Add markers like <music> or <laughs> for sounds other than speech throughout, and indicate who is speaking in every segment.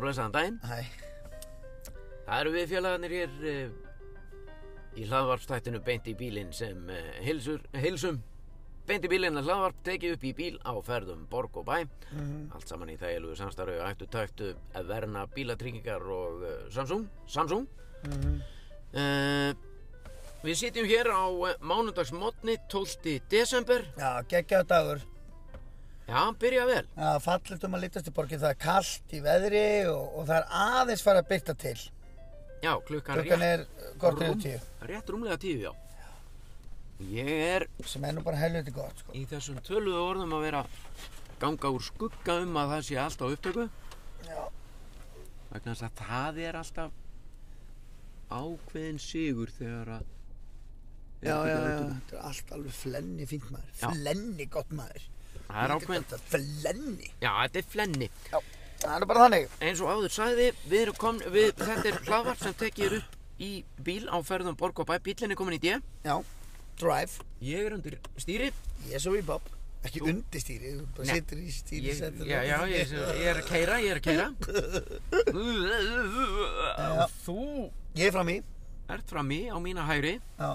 Speaker 1: blessaðan daginn.
Speaker 2: Æ,
Speaker 1: Það eru við félagarnir hér uh, í hlaðvarpstættinu beint í bílinn sem uh, hilsur, hilsum. Beint í bílinn að hlaðvarp tekið upp í bíl á ferðum borg og bæ. Allt saman í þægilegu samstarfi og ættu tæktu að verna bílatryggingar og uh, Samsung. Samsung. Uh, við sitjum hér á uh, mánudagsmotni 12. desember.
Speaker 2: já, geggjaðu dagur.
Speaker 1: Já, byrja vel.
Speaker 2: Já, fallit um að litast í borgin, það er kallt í veðri og, og það er aðeins farið að byrta til.
Speaker 1: Já, klukkan,
Speaker 2: Klukkan
Speaker 1: rétt,
Speaker 2: er gott yfir
Speaker 1: rúm-
Speaker 2: tíu,
Speaker 1: rétt rúmlega tíu, já. Ég er
Speaker 2: sem er nú bara helviti gott, sko.
Speaker 1: í þessum töluðu orðum að vera ganga úr skugga um að það sé alltaf á upptöku
Speaker 2: Já,
Speaker 1: vegna þess að það er alltaf ákveðin sigur þegar að
Speaker 2: já, já, já. Þetta er allt alveg flenni fínt maður.
Speaker 1: Já.
Speaker 2: Flenni gott maður.
Speaker 1: það er ákveðin
Speaker 2: Þetta er flenni.
Speaker 1: já þetta er flenni
Speaker 2: Já, það er bara þannig.
Speaker 1: eins og áður sagði við erum kom við, þetta er hlaðvarp sem tekið er upp í bíl á ferðum borg og bæ bílinn er komin í dje
Speaker 2: Já, drive,
Speaker 1: ég er undir stýri
Speaker 2: yes or we bob. Ekki undir stýri, þú bara
Speaker 1: Nei.
Speaker 2: situr í stýri,
Speaker 1: ég,
Speaker 2: setur
Speaker 1: já, já, ég, ég er að keira ég er að keira þú
Speaker 2: Ég er fram í,
Speaker 1: ert fram í á mína hægri
Speaker 2: já,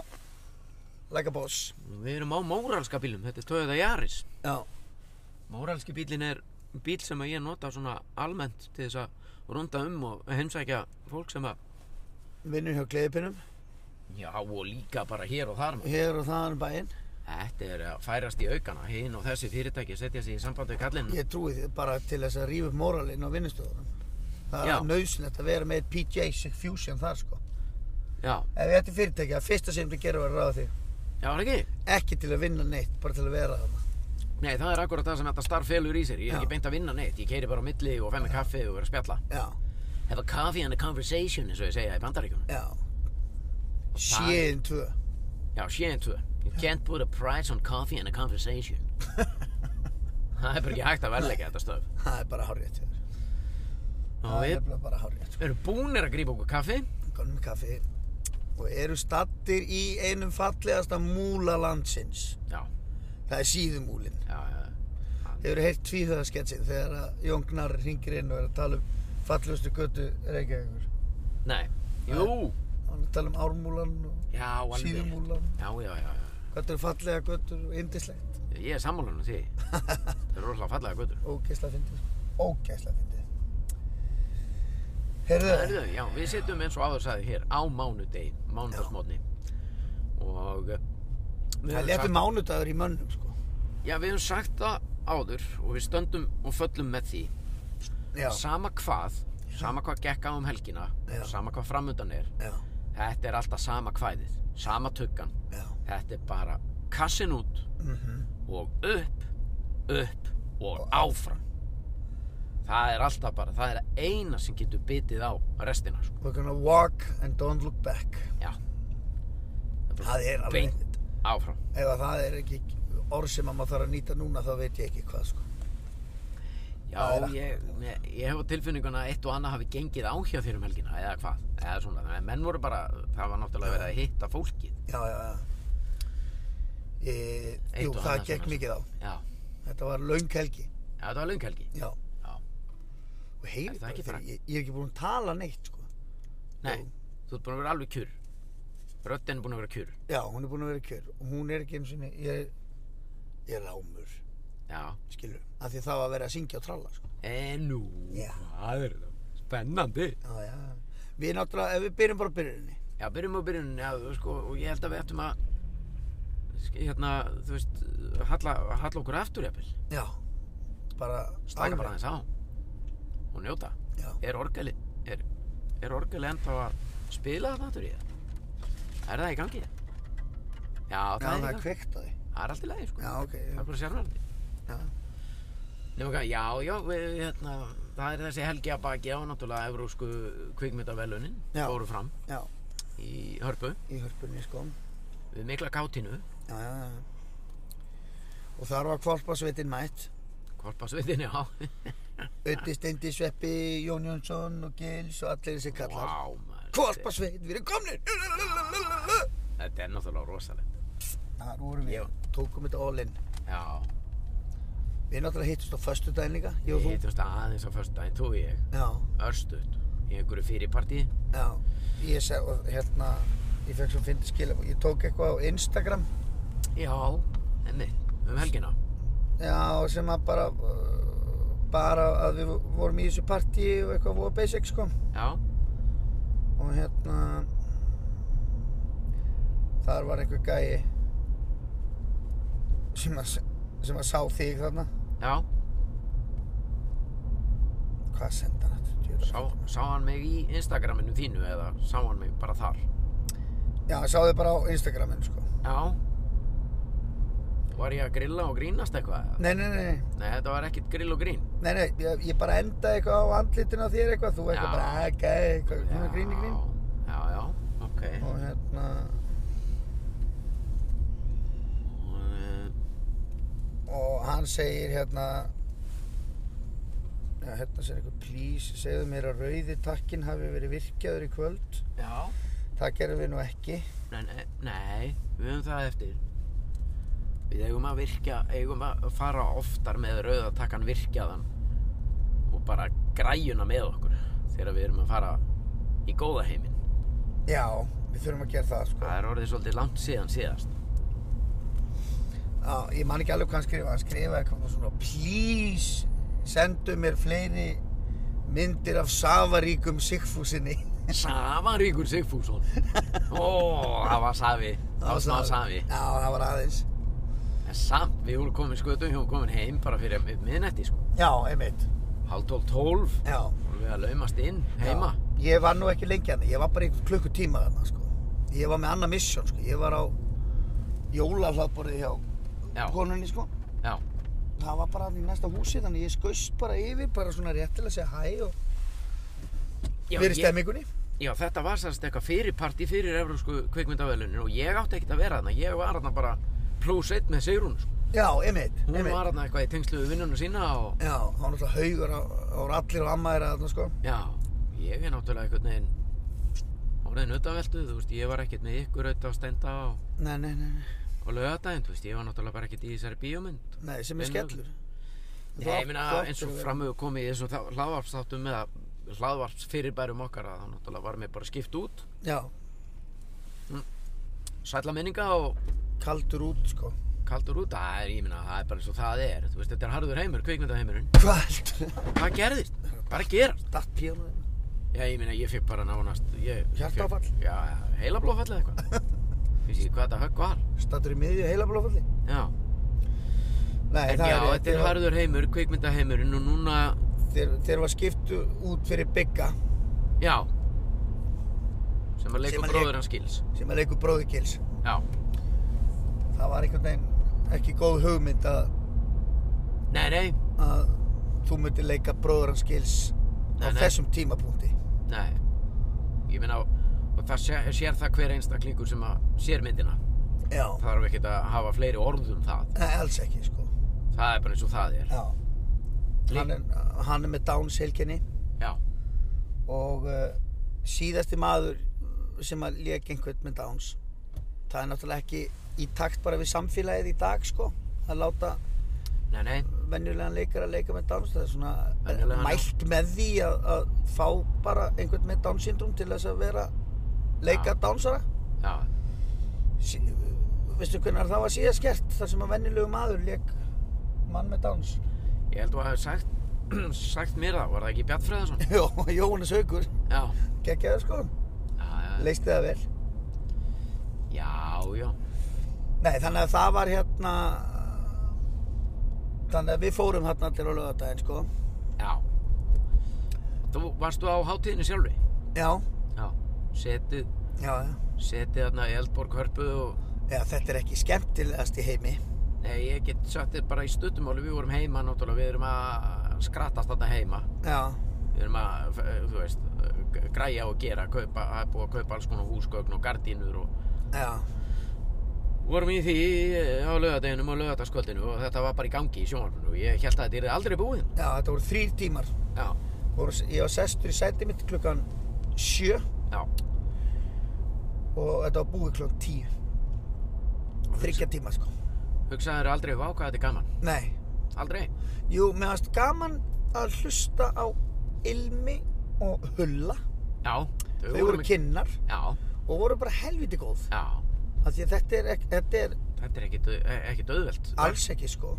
Speaker 2: like a boss.
Speaker 1: Við erum á móralska bílum, þetta er Toyota Yaris.
Speaker 2: Já,
Speaker 1: Móralski bílinn er bíl sem að ég nota svona almennt til þess að runda um og heimsækja fólk sem að...
Speaker 2: vinnur hjá gleðipinum,
Speaker 1: Já, og líka bara hér og þar. maður.
Speaker 2: hér og þaðan um bæinn.
Speaker 1: Þetta er að færast í aukana, hinn og þessi fyrirtæki setja sig í samband við kallinn.
Speaker 2: Ég trúi því bara til þess að rífa upp móralinn á vinnustöðunum. Það
Speaker 1: Já.
Speaker 2: er nöðsynlegt að vera með PJ's Fusion þar sko.
Speaker 1: Já,
Speaker 2: Ef ég ætti fyrirtæki að fyrsta sem þið gerum var að ráða þig.
Speaker 1: já, er það ekki?
Speaker 2: Ekki til að vinna neitt, bara til að vera þarna.
Speaker 1: Nei, það er akkurat það sem þetta starf felur í sér. Ég er
Speaker 2: Já.
Speaker 1: ekki beint að vinna neitt, ég keiri bara á milli og fæ með kaffi og vera að spjalla.
Speaker 2: Já,
Speaker 1: Have a coffee and a conversation, eins og ég segja í bandaríkjum.
Speaker 2: já. Sjíðin tvö.
Speaker 1: Já, séin tvö. You can't put a price on coffee and a conversation. það er bara ekki hægt að verðleika þetta stöf.
Speaker 2: Það er bara hárið til þér.
Speaker 1: Og
Speaker 2: Það er
Speaker 1: við
Speaker 2: nefnilega bara hárið.
Speaker 1: erum búnir að grípa okkur kaffi.
Speaker 2: Góðum með kaffi og eru stattir í einum fallegasta múla landsins.
Speaker 1: Já,
Speaker 2: Það er síðumúlin.
Speaker 1: já, já. ah,
Speaker 2: Þið eru heyrt tvíþöðasketsin þegar að Jón Gnarr ringir inn og er að tala um fallegustu götu Reykjavíkur.
Speaker 1: Nei, jú.
Speaker 2: Hann er að tala um ármúlan og
Speaker 1: Já, alveg.
Speaker 2: Síðumúlan.
Speaker 1: Já, já, já. já.
Speaker 2: Hvað þetta eru fallega göttur og indislegt.
Speaker 1: Ég er sammálanum því. Það eru rosalega fallega göttur.
Speaker 2: Ógeðslega fyndið. sko. Ógeðslega fyndið. Heyrðu,
Speaker 1: Herðu, já, við sittum eins og áður sagði hér á mánudegi, mánudagsmótni. Og... eh, við
Speaker 2: það
Speaker 1: höfum
Speaker 2: letur
Speaker 1: sagt-
Speaker 2: mánudagur í mönnum sko.
Speaker 1: Já, við höfum sagt það áður og við stöndum og föllum með því.
Speaker 2: Já,
Speaker 1: sama hvað sama hvað gekk á um helgina
Speaker 2: Já.
Speaker 1: sama hvað framundan er
Speaker 2: já,
Speaker 1: þetta er alltaf sama kvæðið, sama tuggan
Speaker 2: já.
Speaker 1: þetta er bara kassin út
Speaker 2: Mm
Speaker 1: og upp, upp og áfram það er alltaf bara, það er eina sem getur bitið á restina sko.
Speaker 2: We're gonna walk and don't look back.
Speaker 1: já bara
Speaker 2: Það er alveg-
Speaker 1: beint áfram
Speaker 2: Ef að það er ekki orð sem að maður þarf að nýta núna þá veit ég ekki hvað sko.
Speaker 1: já,
Speaker 2: Það er-
Speaker 1: ég, ég, ég hef á tilfinninguna að eitt og annað hafi gengið á hjá þér um helgina eða hvað, eða svona, Þannig að menn voru bara það var náttúrulega verið að hitta fólkið
Speaker 2: Já, já, já. E,
Speaker 1: Eitt
Speaker 2: jú,
Speaker 1: og
Speaker 2: það
Speaker 1: annað
Speaker 2: gekk
Speaker 1: svona. sko.
Speaker 2: mikið á.
Speaker 1: já,
Speaker 2: Þetta var löng helgi.
Speaker 1: já þetta var lönghelgi
Speaker 2: Já.
Speaker 1: Já.
Speaker 2: Og heyri
Speaker 1: Er það ekki
Speaker 2: bara,
Speaker 1: bara-
Speaker 2: ég, ég er ekki búin að tala neitt sko.
Speaker 1: Nei,
Speaker 2: Jú.
Speaker 1: þú ert búin að vera alveg kjur Röddin er búin að vera kjur
Speaker 2: Já, hún er búin að vera í kjör og hún er ekki eins og ég er, ég er rámur,
Speaker 1: Já
Speaker 2: skilur, af því það var að vera að syngja og tralla, sko.
Speaker 1: E, nú,
Speaker 2: Já.
Speaker 1: hvað er það? Spennandi
Speaker 2: Já, já. Við náttúrulega, ef við byrjum bara á byrjuninni.
Speaker 1: Já, byrjum á byrjuninni að, sko, og ég held að við ættum að sk- hérna, þú veist, halla, halla okkur aftur jafnvel,
Speaker 2: Já. Bara,
Speaker 1: taka
Speaker 2: alveg.
Speaker 1: bara aðeins á og njóta
Speaker 2: Já.
Speaker 1: Er orgeli, er, er orgeli ennþá að spila það aftur í það? Er það í gangi? Já, það er
Speaker 2: Já,
Speaker 1: í
Speaker 2: það er
Speaker 1: gangi,
Speaker 2: kveikt á því.
Speaker 1: það er allt í lagi, sko
Speaker 2: Já, ok.
Speaker 1: Það er bara sérverandi
Speaker 2: Já.
Speaker 1: Nefnum hvað, já, já, við, hérna, það er þessi helgi að baki á náttúrulega evrósku kvikmyndavelunin
Speaker 2: Já.
Speaker 1: fóru fram
Speaker 2: Já,
Speaker 1: í Hörpu
Speaker 2: í hörpunni, sko.
Speaker 1: við mikla kátinu,
Speaker 2: Já, já, já. Og þar var kvalpasveitin mætt.
Speaker 1: korpasviðinni á
Speaker 2: Ötti Steindi Sveppi, Jón Jónsson og Gils og allir þessi kallar.
Speaker 1: Vá, maður
Speaker 2: Kvalpasveit, við erum komnir!
Speaker 1: þetta- Þetta er náttúrulega rosalegt
Speaker 2: Þar vorum við.
Speaker 1: Já.
Speaker 2: Tókum þetta all in.
Speaker 1: Já
Speaker 2: Við náttúrulega hittust á föstu líka, ég og
Speaker 1: Við
Speaker 2: þú.
Speaker 1: hittumst aðeins á förstu daginn, þú og ég,
Speaker 2: Já,
Speaker 1: örstuðt, í einhverju fyrirpartíi.
Speaker 2: já. Ég seg, og hérna, ég fekk svo fyndi skilja, ég tók eitthvað á Instagram,
Speaker 1: Já, enni, um helgina.
Speaker 2: já, sem að bara, uh, bara að við vorum í þessu partí og eitthvað voru basic, sko.
Speaker 1: Já,
Speaker 2: Og hérna, þar var einhver gæi sem að, sem að sá þig þarna.
Speaker 1: já,
Speaker 2: Hvað senda hann aftur? Djöfull.
Speaker 1: sá, sá hann mig í Instagraminu þínu eða sá hann mig bara þar.
Speaker 2: Já, ég sá þig bara á Instagraminu, sko.
Speaker 1: Já. Var ég að grilla og grínast eitthvað? eða?
Speaker 2: Nei, nei, nei, nei.
Speaker 1: Nei, þetta var ekkert grill og grín.
Speaker 2: Nei, nei, ég, ég bara endaði eitthvað á andlitinu á þér eitthvað, þú
Speaker 1: Já.
Speaker 2: eitthvað bara, "Ah, gæði, eitthvað, svona
Speaker 1: Já,
Speaker 2: gríni grín.
Speaker 1: Já, já, ok.
Speaker 2: Og hérna,
Speaker 1: Eh,
Speaker 2: og hann segir hérna, já, hérna segir eitthvað, please, segðu mér að rauði takkin hafi verið virkjaður í kvöld.
Speaker 1: Já.
Speaker 2: Það gerum við nú ekki.
Speaker 1: Nei, nei, nei, við höfum það eftir. Við eigum að virkja, eigum að fara oftar með rauðatakkan virkjaðan og bara græjuna með okkur þegar við erum að fara í góða heiminn.
Speaker 2: Já, við þurfum að gera það, sko.
Speaker 1: Það er orðið svolítið langt síðan <laughs> síðast.
Speaker 2: Já, ég man ekki alveg hvað hann skrifa, hann skrifa eitthvað svona, please, sendu mér fleiri myndir af safaríkum sigfúsinni. <laughs>
Speaker 1: Safaríkur Sigfússon. Ó, það var safi. Það var smá safi.
Speaker 2: Já, það var aðeins.
Speaker 1: En samt, við vorum komin skötum, við vorum komin heim bara fyrir miðnætti, sko.
Speaker 2: Já, einmitt.
Speaker 1: Hálf tólf tólf,
Speaker 2: Já.
Speaker 1: vorum við að laumast inn heima.
Speaker 2: Já, ég var nú ekki lengi hann, ég var bara í klukkutíma þarna sko. Ég var með annað misjón sko, ég var á jólahlaðborðið hjá
Speaker 1: Já,
Speaker 2: konunni sko.
Speaker 1: já,
Speaker 2: Það var bara hann í næsta húsi þannig ég skust bara yfir, bara svona réttilega segja hæ og
Speaker 1: já.
Speaker 2: verið
Speaker 1: ég-
Speaker 2: stemmingunni.
Speaker 1: Já, þetta var sérst eitthvað fyrirparti fyrir Evrósku kvikmyndavelunin og ég átti ekkert að vera þarna. Ég var þarna bara plus eitt með Sigrún. sko.
Speaker 2: Já, einmitt,
Speaker 1: Hún
Speaker 2: einmitt.
Speaker 1: var þarna eitthvað í tengslu við vinnuna sína og...
Speaker 2: Já, það var náttúrulega haugur á, á allir og amma þeirra þarna sko.
Speaker 1: Já, ég er náttúrulega einhvern veginn orðin utaveldu, þú veist, ég var ekkert með ykkur auðvitað að stenda á,
Speaker 2: Nei, nei, nei, nei,
Speaker 1: á lögadaginn, þú veist, ég var náttúrulega bara ekkert í þessari bíómynd.
Speaker 2: nei, sem
Speaker 1: Vinnu.
Speaker 2: er skellur. sko.
Speaker 1: Nei, ég meina, eins og framöðu komið í þessum þá- hlaðvarpsþáttum með að hlaðvarpsfyrirbærum okkar að það náttúrulega var mér bara skipt út,
Speaker 2: Já,
Speaker 1: sætla minninga og
Speaker 2: kaldur út sko.
Speaker 1: kaldur út, það er, ég meina, það er bara eins og það er, þú veist, þetta er harður heimur, kvikmyndaheimurinn.
Speaker 2: Hvað heldur það?
Speaker 1: Hvað gerðist? Bara gerast?
Speaker 2: <laughs> Datt píónuðið.
Speaker 1: Já, ég meina, ég fekk bara nánast... ég fékk-
Speaker 2: Hjartaáfall?
Speaker 1: Já, heilablófall eða eitthvað. Finnst ég hvað þetta högg var?
Speaker 2: Stattur í miðju heilablófalli.
Speaker 1: Já.
Speaker 2: Nei,
Speaker 1: En já, þetta er harður heimur, kvikmyndaheimurinn og núna...
Speaker 2: þeir, þeir var skipt út fyrir Bigga
Speaker 1: Já. Sem að
Speaker 2: Sem
Speaker 1: leika
Speaker 2: að leik-
Speaker 1: bróður hans skils.
Speaker 2: sem er leikur bróði Gils
Speaker 1: Já.
Speaker 2: það var einhvern veginn ekki góð hugmynd að,
Speaker 1: Nei, nei.
Speaker 2: að þú myndir leika bróður hans Gils á
Speaker 1: Nei, nei.
Speaker 2: þessum tímapunkti
Speaker 1: Nei. Ég meina, og það sér, sér það hver einstaklingur sem að sér myndina.
Speaker 2: já,
Speaker 1: Það þarf ekkert að hafa fleiri orð um það.
Speaker 2: nei, alls ekki sko
Speaker 1: Það er bara eins og það er.
Speaker 2: já, hann er, hann er með Downs helginni
Speaker 1: Já.
Speaker 2: og uh, síðasti maður sem að leika einhvern með Downs það er náttúrulega ekki í takt bara við samfélagið í dag sko að láta
Speaker 1: Nei, nei.
Speaker 2: venjulegan leikar að leika með Downs það er svona er
Speaker 1: Venjulegan, já.
Speaker 2: mælt með því að, að fá bara einhvern með Down syndrom til þess að vera leika
Speaker 1: Já.
Speaker 2: Downsara
Speaker 1: Já.
Speaker 2: sí, veistu hvernig það var síðast gert þar sem að venjulegu maður leik mann með
Speaker 1: <laughs>
Speaker 2: Downs
Speaker 1: Ég held að þú hafði sagt, <clears throat> sagt mér það, var það ekki Bjart Fræðarsson?
Speaker 2: Jó, Jóhannes Haugur,
Speaker 1: Já.
Speaker 2: geggjaður sko
Speaker 1: Já, já,
Speaker 2: leisti það vel
Speaker 1: já, já.
Speaker 2: nei þannig að það var hérna þannig að við fórum hérna allir á laugardaginn sko
Speaker 1: já. Þú varstu á hátíðinu sjálfri?
Speaker 2: já,
Speaker 1: Já. Setið,
Speaker 2: já, já
Speaker 1: setið þarna í Eldborg hörpu og...
Speaker 2: Já, þetta er ekki skemmtilegast í heimi
Speaker 1: Nei, ég get sagt þér bara í stuttumáli, við vorum heima náttúrulega, við erum að skrattast þarna heima.
Speaker 2: Já,
Speaker 1: Við erum að, eh, þú veist, græja og gera, kaupa, það er búið að kaupa alls konar húsgögn og gardínur og...
Speaker 2: já,
Speaker 1: Vorum í því eh, á laugardeginum og laugardagsköldinu og þetta var bara í gangi í sjónvarpinu og ég held að þetta er aldrei búið.
Speaker 2: já, þetta voru þrýr tímar
Speaker 1: Já,
Speaker 2: voru, ég var sestur í sæti mitt klukkan 7
Speaker 1: já.
Speaker 2: og þetta var búið klukkan 10 þryggja tíma sko
Speaker 1: Hugsaður aldrei, vá hvað þetta er gaman.
Speaker 2: nei,
Speaker 1: Aldrei.
Speaker 2: Jú, mér fannst gaman að hlusta á Ilmi og Hulla.
Speaker 1: Já.
Speaker 2: Þau voru kynnar
Speaker 1: Já,
Speaker 2: og voru bara helviti góð.
Speaker 1: já.
Speaker 2: Af því að þetta er, ek- þetta er
Speaker 1: Þetta er ekkit, eh, ekkit auðvelt.
Speaker 2: alls ekki sko.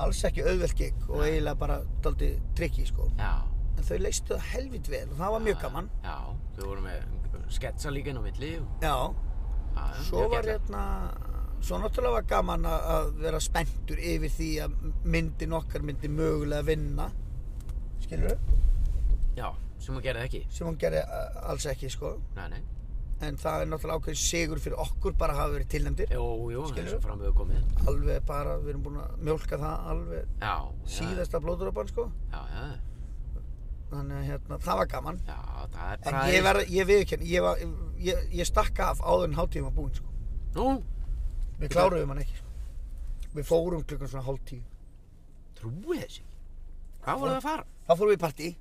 Speaker 2: Alls ekki auðvelt gig og
Speaker 1: Nei.
Speaker 2: eiginlega bara daldi trikki sko.
Speaker 1: Já.
Speaker 2: En þau leistu það helvit vel og það var
Speaker 1: Ah.
Speaker 2: mjög gaman.
Speaker 1: Já, þau voru með sketsa líka inn á milli. og-
Speaker 2: Já,
Speaker 1: Já, já,
Speaker 2: svo
Speaker 1: mjög
Speaker 2: var
Speaker 1: gert.
Speaker 2: hérna, svo náttúrulega var gaman að- að vera spenntur yfir því að myndin okkar myndi mögulega vinna. Skilur
Speaker 1: Já, sem hún gerði ekki.
Speaker 2: Sem hún gerði uh, alls ekki sko.
Speaker 1: Nei, nei.
Speaker 2: En það er náttúrulega ákveðin sigur fyrir okkur bara að hafa verið tilnæmdir.
Speaker 1: Jú, jú,
Speaker 2: Skilurðu?
Speaker 1: eins og framöðu komið.
Speaker 2: Alveg bara, við erum búin að mjólka það alveg
Speaker 1: Já. já,
Speaker 2: síðasta blóðdropan sko.
Speaker 1: Já, já,
Speaker 2: Þannig að hérna, það var gaman.
Speaker 1: já, það er
Speaker 2: En
Speaker 1: bara...
Speaker 2: ég, verð, ég viðurkenn, ég, var- ég, ég stakk af áður en hátíðin var búinn sko.
Speaker 1: Nú,
Speaker 2: Við kláruðum hann ekki sko. Við fórum klukkan svona hálf tíu.
Speaker 1: trúið þessi. Hvað voru það að fara?
Speaker 2: Þá fórum við í partí,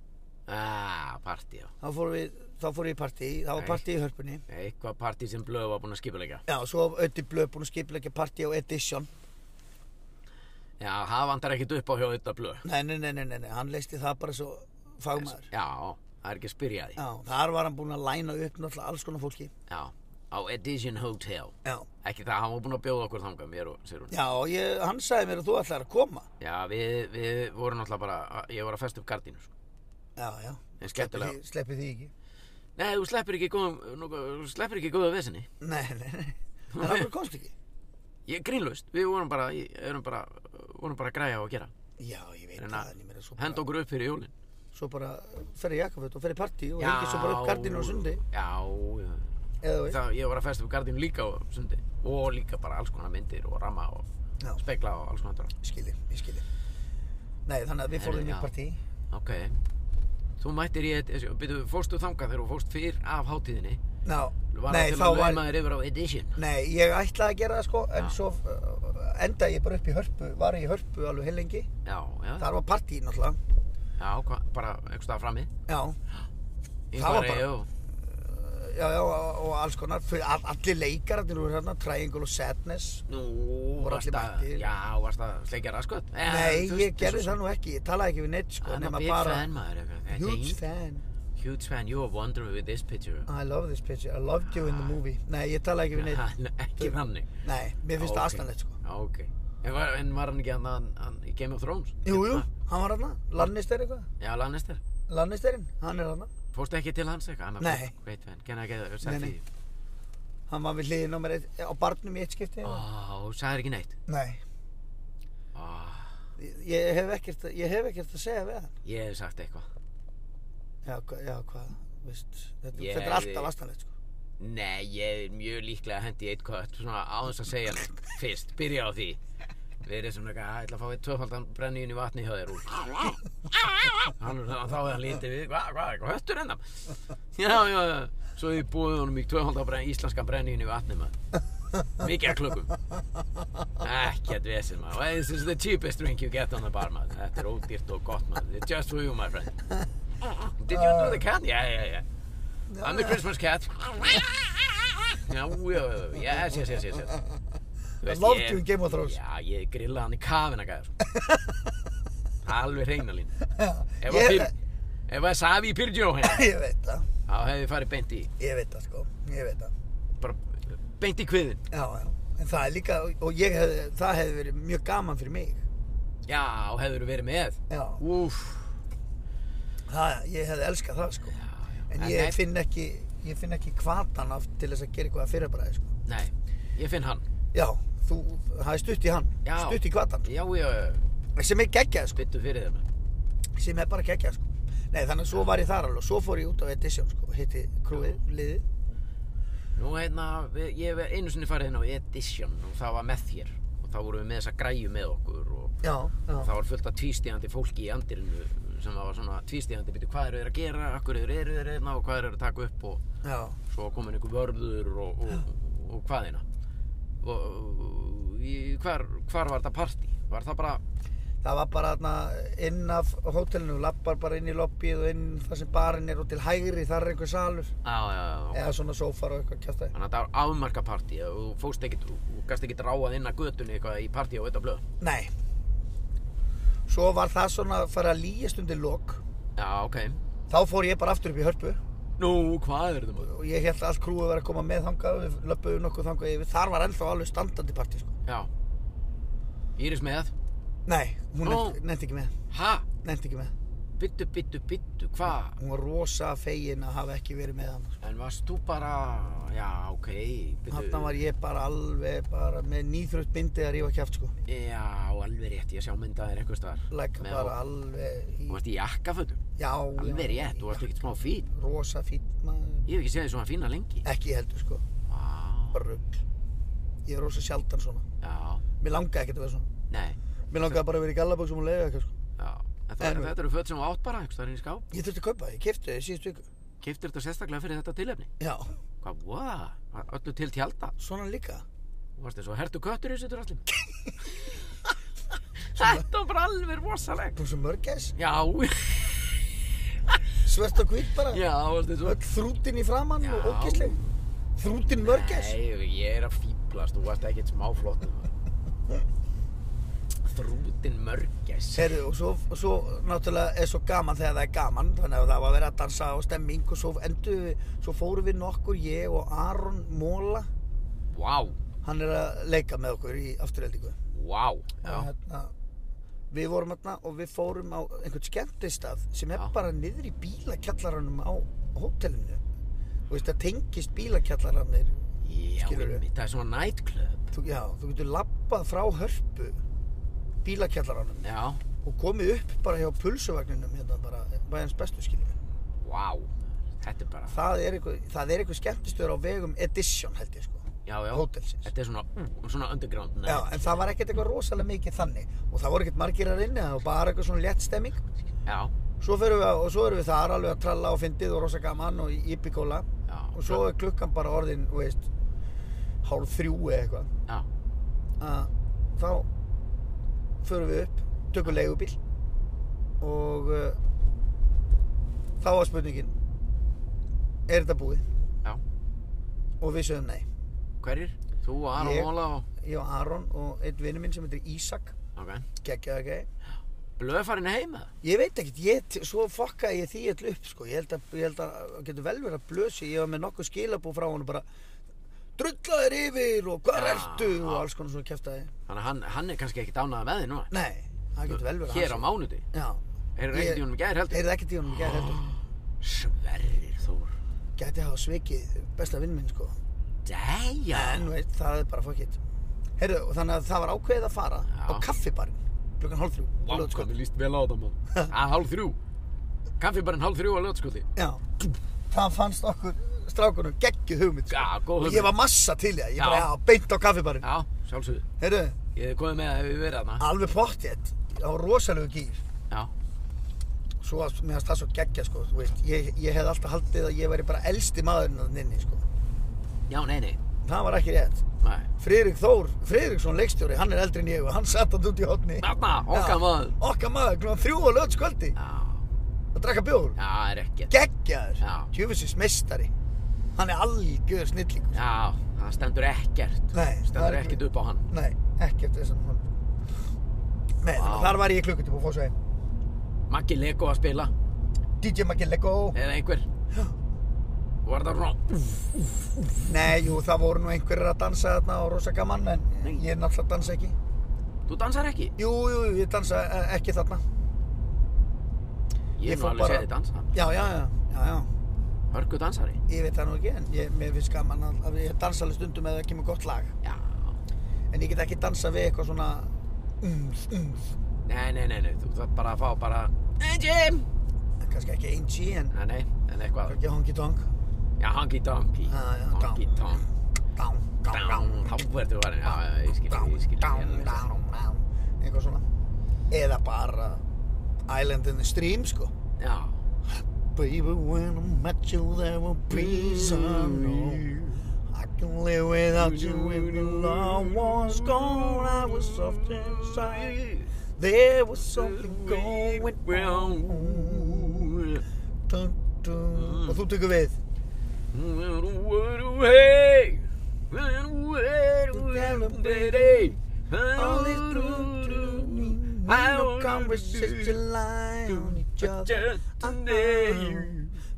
Speaker 1: Ah, partí, já.
Speaker 2: þá fórum við, þá fórum við í partí, þá var
Speaker 1: Nei.
Speaker 2: partí í hörpunni.
Speaker 1: Eitthvað partí sem Blöð var búin að skipuleika.
Speaker 2: Já, svo var Öddi Blöð búinn að skipilegja partí á Edition.
Speaker 1: Já, það vandar ekkit upp á hjá þetta Blöð.
Speaker 2: Nei, nei, nei, nei, nei, nei, hann leisti það bara svo fagmaður.
Speaker 1: Já, það er ekki að spyrja því.
Speaker 2: Já, þar var hann búinn að læna upp náttúrulega alls konar fólki.
Speaker 1: Já, á Edition Hotel.
Speaker 2: Já.
Speaker 1: Ekki það, hann var búin að bjóða okkur þangað, mér og Sirun.
Speaker 2: Já, ég, hann sagði mér að þú ætlar að koma.
Speaker 1: Já, við, við vorum náttúrulega bara, ég var að festa upp gardínu, sko.
Speaker 2: Já, já.
Speaker 1: En skemmtilega.
Speaker 2: Sleppi því- Sleppi því ekki.
Speaker 1: Nei, þú sleppir ekki góðum, nú- þú sleppir ekki góðu vesinni.
Speaker 2: Nei, nei, nei. En af hverju komst ekki?
Speaker 1: Ég grínlaust, við vorum bara, í- erum bara, vorum bara að græja á að gera.
Speaker 2: Já, ég veit
Speaker 1: En
Speaker 2: það,
Speaker 1: að
Speaker 2: en ég meina svo
Speaker 1: Henda
Speaker 2: bara,
Speaker 1: okkur upp fyrir jólinn.
Speaker 2: svo bara fer í jakkaföt og fer í partí og hengið svo bara upp gardinu á sundi,
Speaker 1: Já, já.
Speaker 2: eða þú veist.
Speaker 1: Það, ég var að festa upp gardinu líka á sundi. Og líka bara alls konar myndir og ramma og
Speaker 2: Já.
Speaker 1: spekla og alls konar drátt.
Speaker 2: Ég skilji, ég skilji. Nei, þannig að við
Speaker 1: Herri,
Speaker 2: fórum í
Speaker 1: já.
Speaker 2: partí.
Speaker 1: Ok. Þú mættir í, byrju, fórstu þangað þegar þú fórst fyrr af hátíðinni.
Speaker 2: Ná,
Speaker 1: Var
Speaker 2: nei,
Speaker 1: það
Speaker 2: þá
Speaker 1: til að
Speaker 2: var,
Speaker 1: laumaður yfir á Edition.
Speaker 2: nei, ég ætlaði að gera það sko, en
Speaker 1: Já.
Speaker 2: svo uh, endaði ég bara upp í hörpu, var í hörpu alveg heilengi.
Speaker 1: Já, já.
Speaker 2: Þar var partí náttúrulega,
Speaker 1: Já, hva, bara einhvers staðar frammi.
Speaker 2: já, Það var
Speaker 1: Yngvar
Speaker 2: bara-
Speaker 1: Eyjó.
Speaker 2: já, já, og og alls konar, fyrir, all, allir leikararnir voru hérna, Triangle og Sadness.
Speaker 1: Nú,
Speaker 2: Voru
Speaker 1: varst
Speaker 2: allir
Speaker 1: að,
Speaker 2: mættir.
Speaker 1: já, varst að sleikja Eh, raskvöld.
Speaker 2: Nei, ég gerði það nú ekki, ég talaði ekki við neitt sko,
Speaker 1: Ah, I'm a
Speaker 2: nema
Speaker 1: big
Speaker 2: bara,
Speaker 1: fan, maður. eitthvað.
Speaker 2: huge
Speaker 1: Þetta
Speaker 2: fan.
Speaker 1: er Huge fan, you are wondering with this picture.
Speaker 2: I love this picture, I loved you in the movie Nei, ég tala ekki við neitt
Speaker 1: <laughs> Ekki þannig.
Speaker 2: Nei, mér finnst það
Speaker 1: Ok.
Speaker 2: astanlegt sko
Speaker 1: Já, ok. En var, en var hann ekki hann, hann, hann í Game of Thrones?
Speaker 2: Jú, jú, hann var hann, Lannister eitthvað
Speaker 1: Já, Lannister.
Speaker 2: Lannisterinn, hann er hann
Speaker 1: Fórstu ekki til hans eitthvað? I'm a
Speaker 2: Nei.
Speaker 1: big- Great fan, can I get a
Speaker 2: Nei, nei.
Speaker 1: selfie?
Speaker 2: Hann var við hliðin á mér eitt, á barnum í eitt skipti
Speaker 1: Ó, þú sagðir Ah, ekki neitt.
Speaker 2: Nei,
Speaker 1: Ó,
Speaker 2: ég, ég hef ekkert, ég hef ekkert að segja við hann
Speaker 1: ég hef sagt eitthvað.
Speaker 2: Já, hva, já, hvað, veist Þetta,
Speaker 1: Ég-
Speaker 2: þetta er alltaf astanlegt sko
Speaker 1: Nei, ég er mjög líklega að hendi eitt kött, svona á þess að segja neitt. Fyrst, byrja á því. Verið svona eitthvað, "Æ, ætla að fá eitt tvöfaldan brenniðin í vatni hjá þér úr. Hann, þá er hann lítið við, hvað, hvað, hvað, höttur ennum? Já, já, já, svo ég búið honum í tvöfaldan brenn, íslenskan brenniðin í vatni, maður.
Speaker 2: <laughs>
Speaker 1: Mikið að klukkum. Ekkert vesinn, maður. Well, This is the cheapest drink you get on the bar, maður. Þetta er ódýrt og gott, maður. It's just for you, my friend. Did you know the cat? Yeah, yeah, yeah. I'm the Christmas cat. Já, já, já, yes, yes, yes, yes. yes. Þú veist,
Speaker 2: loved
Speaker 1: ég-
Speaker 2: you in Game of Thrones.
Speaker 1: Já, ég grillaði hann í kafina, gæður. Alveg hreina lín. Ef að
Speaker 2: ég,
Speaker 1: pyr- ef að safi í pyrgjó hérna,
Speaker 2: <laughs> ég veit það,
Speaker 1: þá hefði ég farið beint í,
Speaker 2: ég veit það sko Ég veit það,
Speaker 1: bara beint í kviðin.
Speaker 2: já, já En það er líka, og ég hef, það hefði verið mjög gaman fyrir mig
Speaker 1: Já, og hefur verið með.
Speaker 2: Já,
Speaker 1: Úf.
Speaker 2: það, ég hefði elskað það sko
Speaker 1: Já, já.
Speaker 2: En ég
Speaker 1: nei,
Speaker 2: finn ekki, ég finn ekki hvatan af til þess að gera eitthvað að fyrirbræði, sko.
Speaker 1: Nei, ég finn hann.
Speaker 2: Já, þú, það er stutt í hann,
Speaker 1: Já.
Speaker 2: stutt í hvatan, sko.
Speaker 1: Já, já,
Speaker 2: sem er geggjað, sko,
Speaker 1: byttu fyrir þeim.
Speaker 2: sem er bara geggjað, sko. Nei, þannig að svo var ég þar alveg, svo fór ég út á Edition, sko, og hitti krúið, liðið.
Speaker 1: Nú, hérna, við- ég hef einu sinni farið hérna á Edition og það var með þér. Og þá vorum við með þessa græju með okkur og
Speaker 2: Já, já,
Speaker 1: það var fullt af tvístíðandi fólki í andirinu sem var svona tvístíðandi, byrju hvað eru þeir að gera, akkur eru eru þeir hérna og hvað eru þeir að taka upp og
Speaker 2: já,
Speaker 1: svo komin einhver vörður og, og, og, og hvaðina og, og í- hvar, hvar var þetta partí? Var það bara
Speaker 2: það var bara þarna inn af hótelinu, lappar bara inn í lobbyið og inn þar sem barinn er og til hægri, þar er einhver salur,
Speaker 1: á, já, já, já.
Speaker 2: eða svona sófar og eitthvað kjátt
Speaker 1: þannig að þetta var afmarka partí og þú fórst ekkit, þú gast ekkit ráað inn að götunni eitthvað í partí á þetta blöð
Speaker 2: Nei, svo var það svona að fara að lýjast undir lok
Speaker 1: Já, ok.
Speaker 2: þá fór ég bara aftur upp í hörpu
Speaker 1: Nú, hvað er þetta maður?
Speaker 2: og ég held allt krúið verið að koma með þangað og við löpuðum nokkuð þangað yfir þar var ennþá alveg standandi partí sko.
Speaker 1: Já. Íris með.
Speaker 2: nei, hún
Speaker 1: Nú.
Speaker 2: nefnt, nefnt ekki með
Speaker 1: Ha?
Speaker 2: nefnt ekki með
Speaker 1: Bittu, bittu, bittu, hvað?
Speaker 2: hún var rosa fegin að hafa ekki verið með hann sko.
Speaker 1: En varst þú bara, já, ok, bittu.
Speaker 2: þarna var ég bara alveg bara með nýþrögt bindið að rífa kjæft sko.
Speaker 1: Já, alveg rétt, ég sjá myndaðir einhvers staðar.
Speaker 2: like
Speaker 1: Með
Speaker 2: bara
Speaker 1: hó-
Speaker 2: alveg
Speaker 1: Þú
Speaker 2: í,
Speaker 1: varst í jakkafötum.
Speaker 2: já,
Speaker 1: Alveg
Speaker 2: já,
Speaker 1: rétt, þú varst ekkert smá fín.
Speaker 2: rosa fín
Speaker 1: Ég
Speaker 2: maður
Speaker 1: hef ekki séð þig svona fína lengi.
Speaker 2: ekki heldur sko,
Speaker 1: Vá.
Speaker 2: bara rugg ég er rosa sjaldan svona
Speaker 1: Já,
Speaker 2: mér langaði ekkert að vera svona
Speaker 1: nei,
Speaker 2: mér langaði bara að vera í gallaböksum og leiða eitthvað sko.
Speaker 1: já. En það,
Speaker 2: En-
Speaker 1: þetta eru föt sem þú átt bara, einhvers staðar inn í skáp.
Speaker 2: ég þurfti að kaupa það, ég kefti það í síðustu viku
Speaker 1: Keiftir þetta sérstaklega fyrir þetta tilefni.
Speaker 2: já,
Speaker 1: Hvað, wow, öllu til tjálta.
Speaker 2: svona líka
Speaker 1: Þú varst eins og hertu köttur í þessu
Speaker 2: <laughs>
Speaker 1: draslim. Þetta var bara alveg rosaleg.
Speaker 2: Búið svo mörgæs,
Speaker 1: Já,
Speaker 2: svört og hvít bara
Speaker 1: já, þú varst eins og...
Speaker 2: öll þrútin í framann og
Speaker 1: Já.
Speaker 2: ógisleg þrútin mörgæs
Speaker 1: Nei, ég er að fýblast, þú varst ekkert smá flott. Þrútin mörgæs.
Speaker 2: Heru, og svo, og svo náttúrulega er svo gaman þegar það er gaman þannig að það var verið að dansa og stemming og svo, endu, svo fórum við nokkur ég og Aron Móla
Speaker 1: Vá,
Speaker 2: hann er að leika með okkur í afturheldingu
Speaker 1: vá, já,
Speaker 2: hérna, við vorum hérna og við fórum á einhvern skemmtistað sem er
Speaker 1: Já.
Speaker 2: bara niður í bílakjallaranum á hótelinu þú veist það tengist bílakjallaranir
Speaker 1: já,
Speaker 2: Skilurðu?
Speaker 1: einmitt, það er svona nightclub.
Speaker 2: þú, já, þú getur labbað frá hörpu bílakjallaranum
Speaker 1: Já,
Speaker 2: og komið upp bara hjá pulsuvagninum hérna bara bæjans bestu skiljum
Speaker 1: vá, þetta er bara,
Speaker 2: það er einhver, það er einhver skemmtistöður á vegum Edition held ég sko
Speaker 1: já, já,
Speaker 2: hótelsins
Speaker 1: þetta er svona, ú, svona underground. night.
Speaker 2: Já, en það var ekkert eitthvað rosalega mikið þannig og það voru ekkert margir að rinni, það var bara eitthvað svona létt stemming
Speaker 1: já,
Speaker 2: svo förum við, að- og svo erum við þar alveg að tralla og fyndið og rosa gaman og í byggóla
Speaker 1: já,
Speaker 2: og svo er klukkan bara orðin, þú veist hálf þrjú eða eitthvað
Speaker 1: já,
Speaker 2: að þá förum við upp, tökum leigubíl og uh, þá var spurningin er þetta búið?
Speaker 1: já,
Speaker 2: og við sögum nei
Speaker 1: hverjir? Þú og Aron
Speaker 2: Ég.
Speaker 1: Móla og,
Speaker 2: ég og Aron og einn vinnu minn sem heitir Ísak
Speaker 1: ok,
Speaker 2: geggjaða gæði
Speaker 1: blöðfarinn heim eða?
Speaker 2: ég veit ekkert, ég, t- svo fokkaði ég því allu upp sko. ég held að, ég held að það getur vel verið að blösi ég var með nokkuð skilabú frá honum bara drullaður yfir og hvað
Speaker 1: Já,
Speaker 2: ertu og
Speaker 1: já.
Speaker 2: alls konar svona kæftæði
Speaker 1: Þannig að hann, hann er kannski ekki dánað með þig núna.
Speaker 2: nei, það getur vel verið
Speaker 1: Hér á
Speaker 2: hans.
Speaker 1: mánuði.
Speaker 2: já,
Speaker 1: Heyrðu
Speaker 2: Ég-
Speaker 1: ekkert í honum í gær heldur?
Speaker 2: heyrði ekkert í honum í gær heldur
Speaker 1: Sverrir Þór.
Speaker 2: gæti hafa svikið besta vinn minn sko
Speaker 1: Dæja.
Speaker 2: en veit, það er bara fokkitt heyrðu, og þannig að það var ákveðið að fara
Speaker 1: Já.
Speaker 2: á kaffibarinn klukkan hálf þrjú á Laugardalsvelli.
Speaker 1: mér líst vel á það
Speaker 2: <laughs>
Speaker 1: maður. Að hálf þrjú. Kaffi bara en hálf þrjú á lögskóti.
Speaker 2: Já, það fannst okkur strákunum geggjuð hugmynd sko.
Speaker 1: Já, góð
Speaker 2: Og
Speaker 1: hugmynd.
Speaker 2: ég var massa til í það, ég
Speaker 1: Já.
Speaker 2: bara já, beint á kaffibarinn
Speaker 1: Já, sjálfsögðu.
Speaker 2: Heyrðu,
Speaker 1: Ég hef komið með að við verið þarna.
Speaker 2: alveg pottjett, það var rosalegu gýr
Speaker 1: Já.
Speaker 2: Svo að mér fannst það svo geggja sko, þú veist Ég, ég hef alltaf haldið að ég væri bara elsti maðurinn að nynni sko
Speaker 1: Já, nei, nei.
Speaker 2: Það var ekki rétt
Speaker 1: Nei.
Speaker 2: Friðrik Þór, Friðriksson leikstjóri, hann er eldri en ég og hann satt hann út í hotni
Speaker 1: Þarna, okkar maður.
Speaker 2: Okkar maður, klúan þrjú á lögð skvöldi
Speaker 1: Já.
Speaker 2: Að drakka bjór
Speaker 1: Já, það er ekkert. Já.
Speaker 2: Geggjaður, tjöfisins mestari Hann er algjör snillingur
Speaker 1: Já, það stendur ekkert.
Speaker 2: Nei, það
Speaker 1: Stendur
Speaker 2: er ekki-
Speaker 1: ekkert upp á hann.
Speaker 2: Nei, ekkert þess að hann sko. Nei, þannig
Speaker 1: Vá.
Speaker 2: að þar var ég í klukkutíma og fór svo heim
Speaker 1: Maggi Lego að spila.
Speaker 2: DJ Maggi Lego
Speaker 1: Eða einhver.
Speaker 2: Já.
Speaker 1: Var það svona, úf,
Speaker 2: Nei, jú, það voru nú einhverjir að dansa þarna og rosa gaman en
Speaker 1: Nei.
Speaker 2: ég náttúrulega dansa ekki
Speaker 1: þú dansar ekki?
Speaker 2: Jú, jú, jú, ég dansa eh, ekki þarna
Speaker 1: Ég
Speaker 2: Ég
Speaker 1: hef nú
Speaker 2: fór
Speaker 1: alveg
Speaker 2: bara-
Speaker 1: séð þið dansa.
Speaker 2: Já, já, já, já, já
Speaker 1: Hörgu dansari.
Speaker 2: Ég veit það nú ekki en ég, mér finnst gaman að, að ég dansa alveg stundum eða ekki með gott lag
Speaker 1: Já.
Speaker 2: En ég get ekki dansa við eitthvað svona mm, umf, umf
Speaker 1: Nei, nei, nei, nei, þú þarf bara að fá bara Hey Jim!
Speaker 2: En kannski ekki 1G en
Speaker 1: Nei, nei, en eitthvað
Speaker 2: kannski honky tonk
Speaker 1: Já, honky tonky
Speaker 2: Já, já,
Speaker 1: Honky tonk
Speaker 2: Dám, dám, dám
Speaker 1: Down, þá verður þú varin Já, já, ég skil, ég skil
Speaker 2: Down, down, down Eitthvað svona Eða bara Island in the Stream sko
Speaker 1: Já
Speaker 2: Baby when I met you there were peace and no I can live without you if the love was gone I was soft inside There was something going on dun, dun. Og þú tekur við All is true to me
Speaker 1: I
Speaker 2: no
Speaker 1: wanna
Speaker 2: conversation
Speaker 1: do-
Speaker 2: lie on each other.
Speaker 1: Just
Speaker 2: Uh-uh.
Speaker 1: today.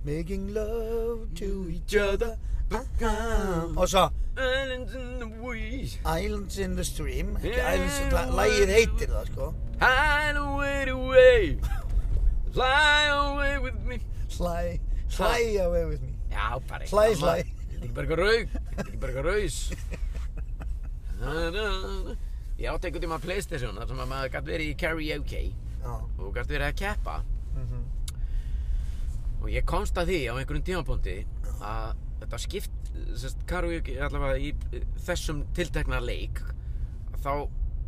Speaker 2: Making love to each
Speaker 1: Each
Speaker 2: other.
Speaker 1: other.
Speaker 2: Uh-uh. Og svo
Speaker 1: Islands in the way.
Speaker 2: Islands in the Stream. Ekki
Speaker 1: Yeah,
Speaker 2: Islands, la-
Speaker 1: well-
Speaker 2: lagið heitir það sko.
Speaker 1: Hide away away. Fly away with me.
Speaker 2: Sly, sly away with me.
Speaker 1: Já, bara
Speaker 2: Slæ,
Speaker 1: eitthvað
Speaker 2: slæ.
Speaker 1: annað. Þetta er ekki bara eitthvað raug. Þetta er ekki bara eitthvað raus. Ég átti einhvern tíma Playstation þar sem að maður gæti verið í karaoke
Speaker 2: Já.
Speaker 1: og gæti verið að keppa
Speaker 2: mhm.
Speaker 1: og ég komst að því á einhverjum tímapunkti að þetta skipt sest, karaoke allavega í eh, þessum tiltekna leik þá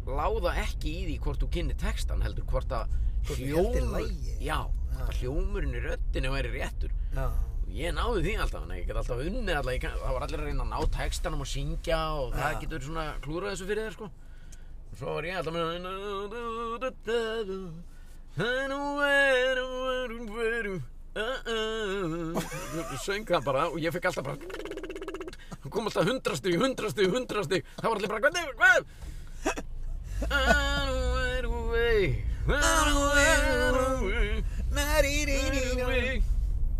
Speaker 1: láða ekki í því hvort þú kynni textan heldur hvort að
Speaker 2: Hvort þú heldur lagið. Ah.
Speaker 1: já, hvort að hljómurinn í röddinu væri réttur
Speaker 2: Já.
Speaker 1: og ég náði því alltaf en ég get alltaf unnið alltaf, ég kann, það var allir að reyna að ná textanum og syngja og það
Speaker 2: Já.
Speaker 1: getur svona klúrað þessu fyrir þér sko og svo var ég alltaf með söng það bara og ég fekk alltaf bara það kom alltaf hundrastig, hundrastig, hundrastig það var allir bara hvernig, hvað Run away, run away, run away, run away.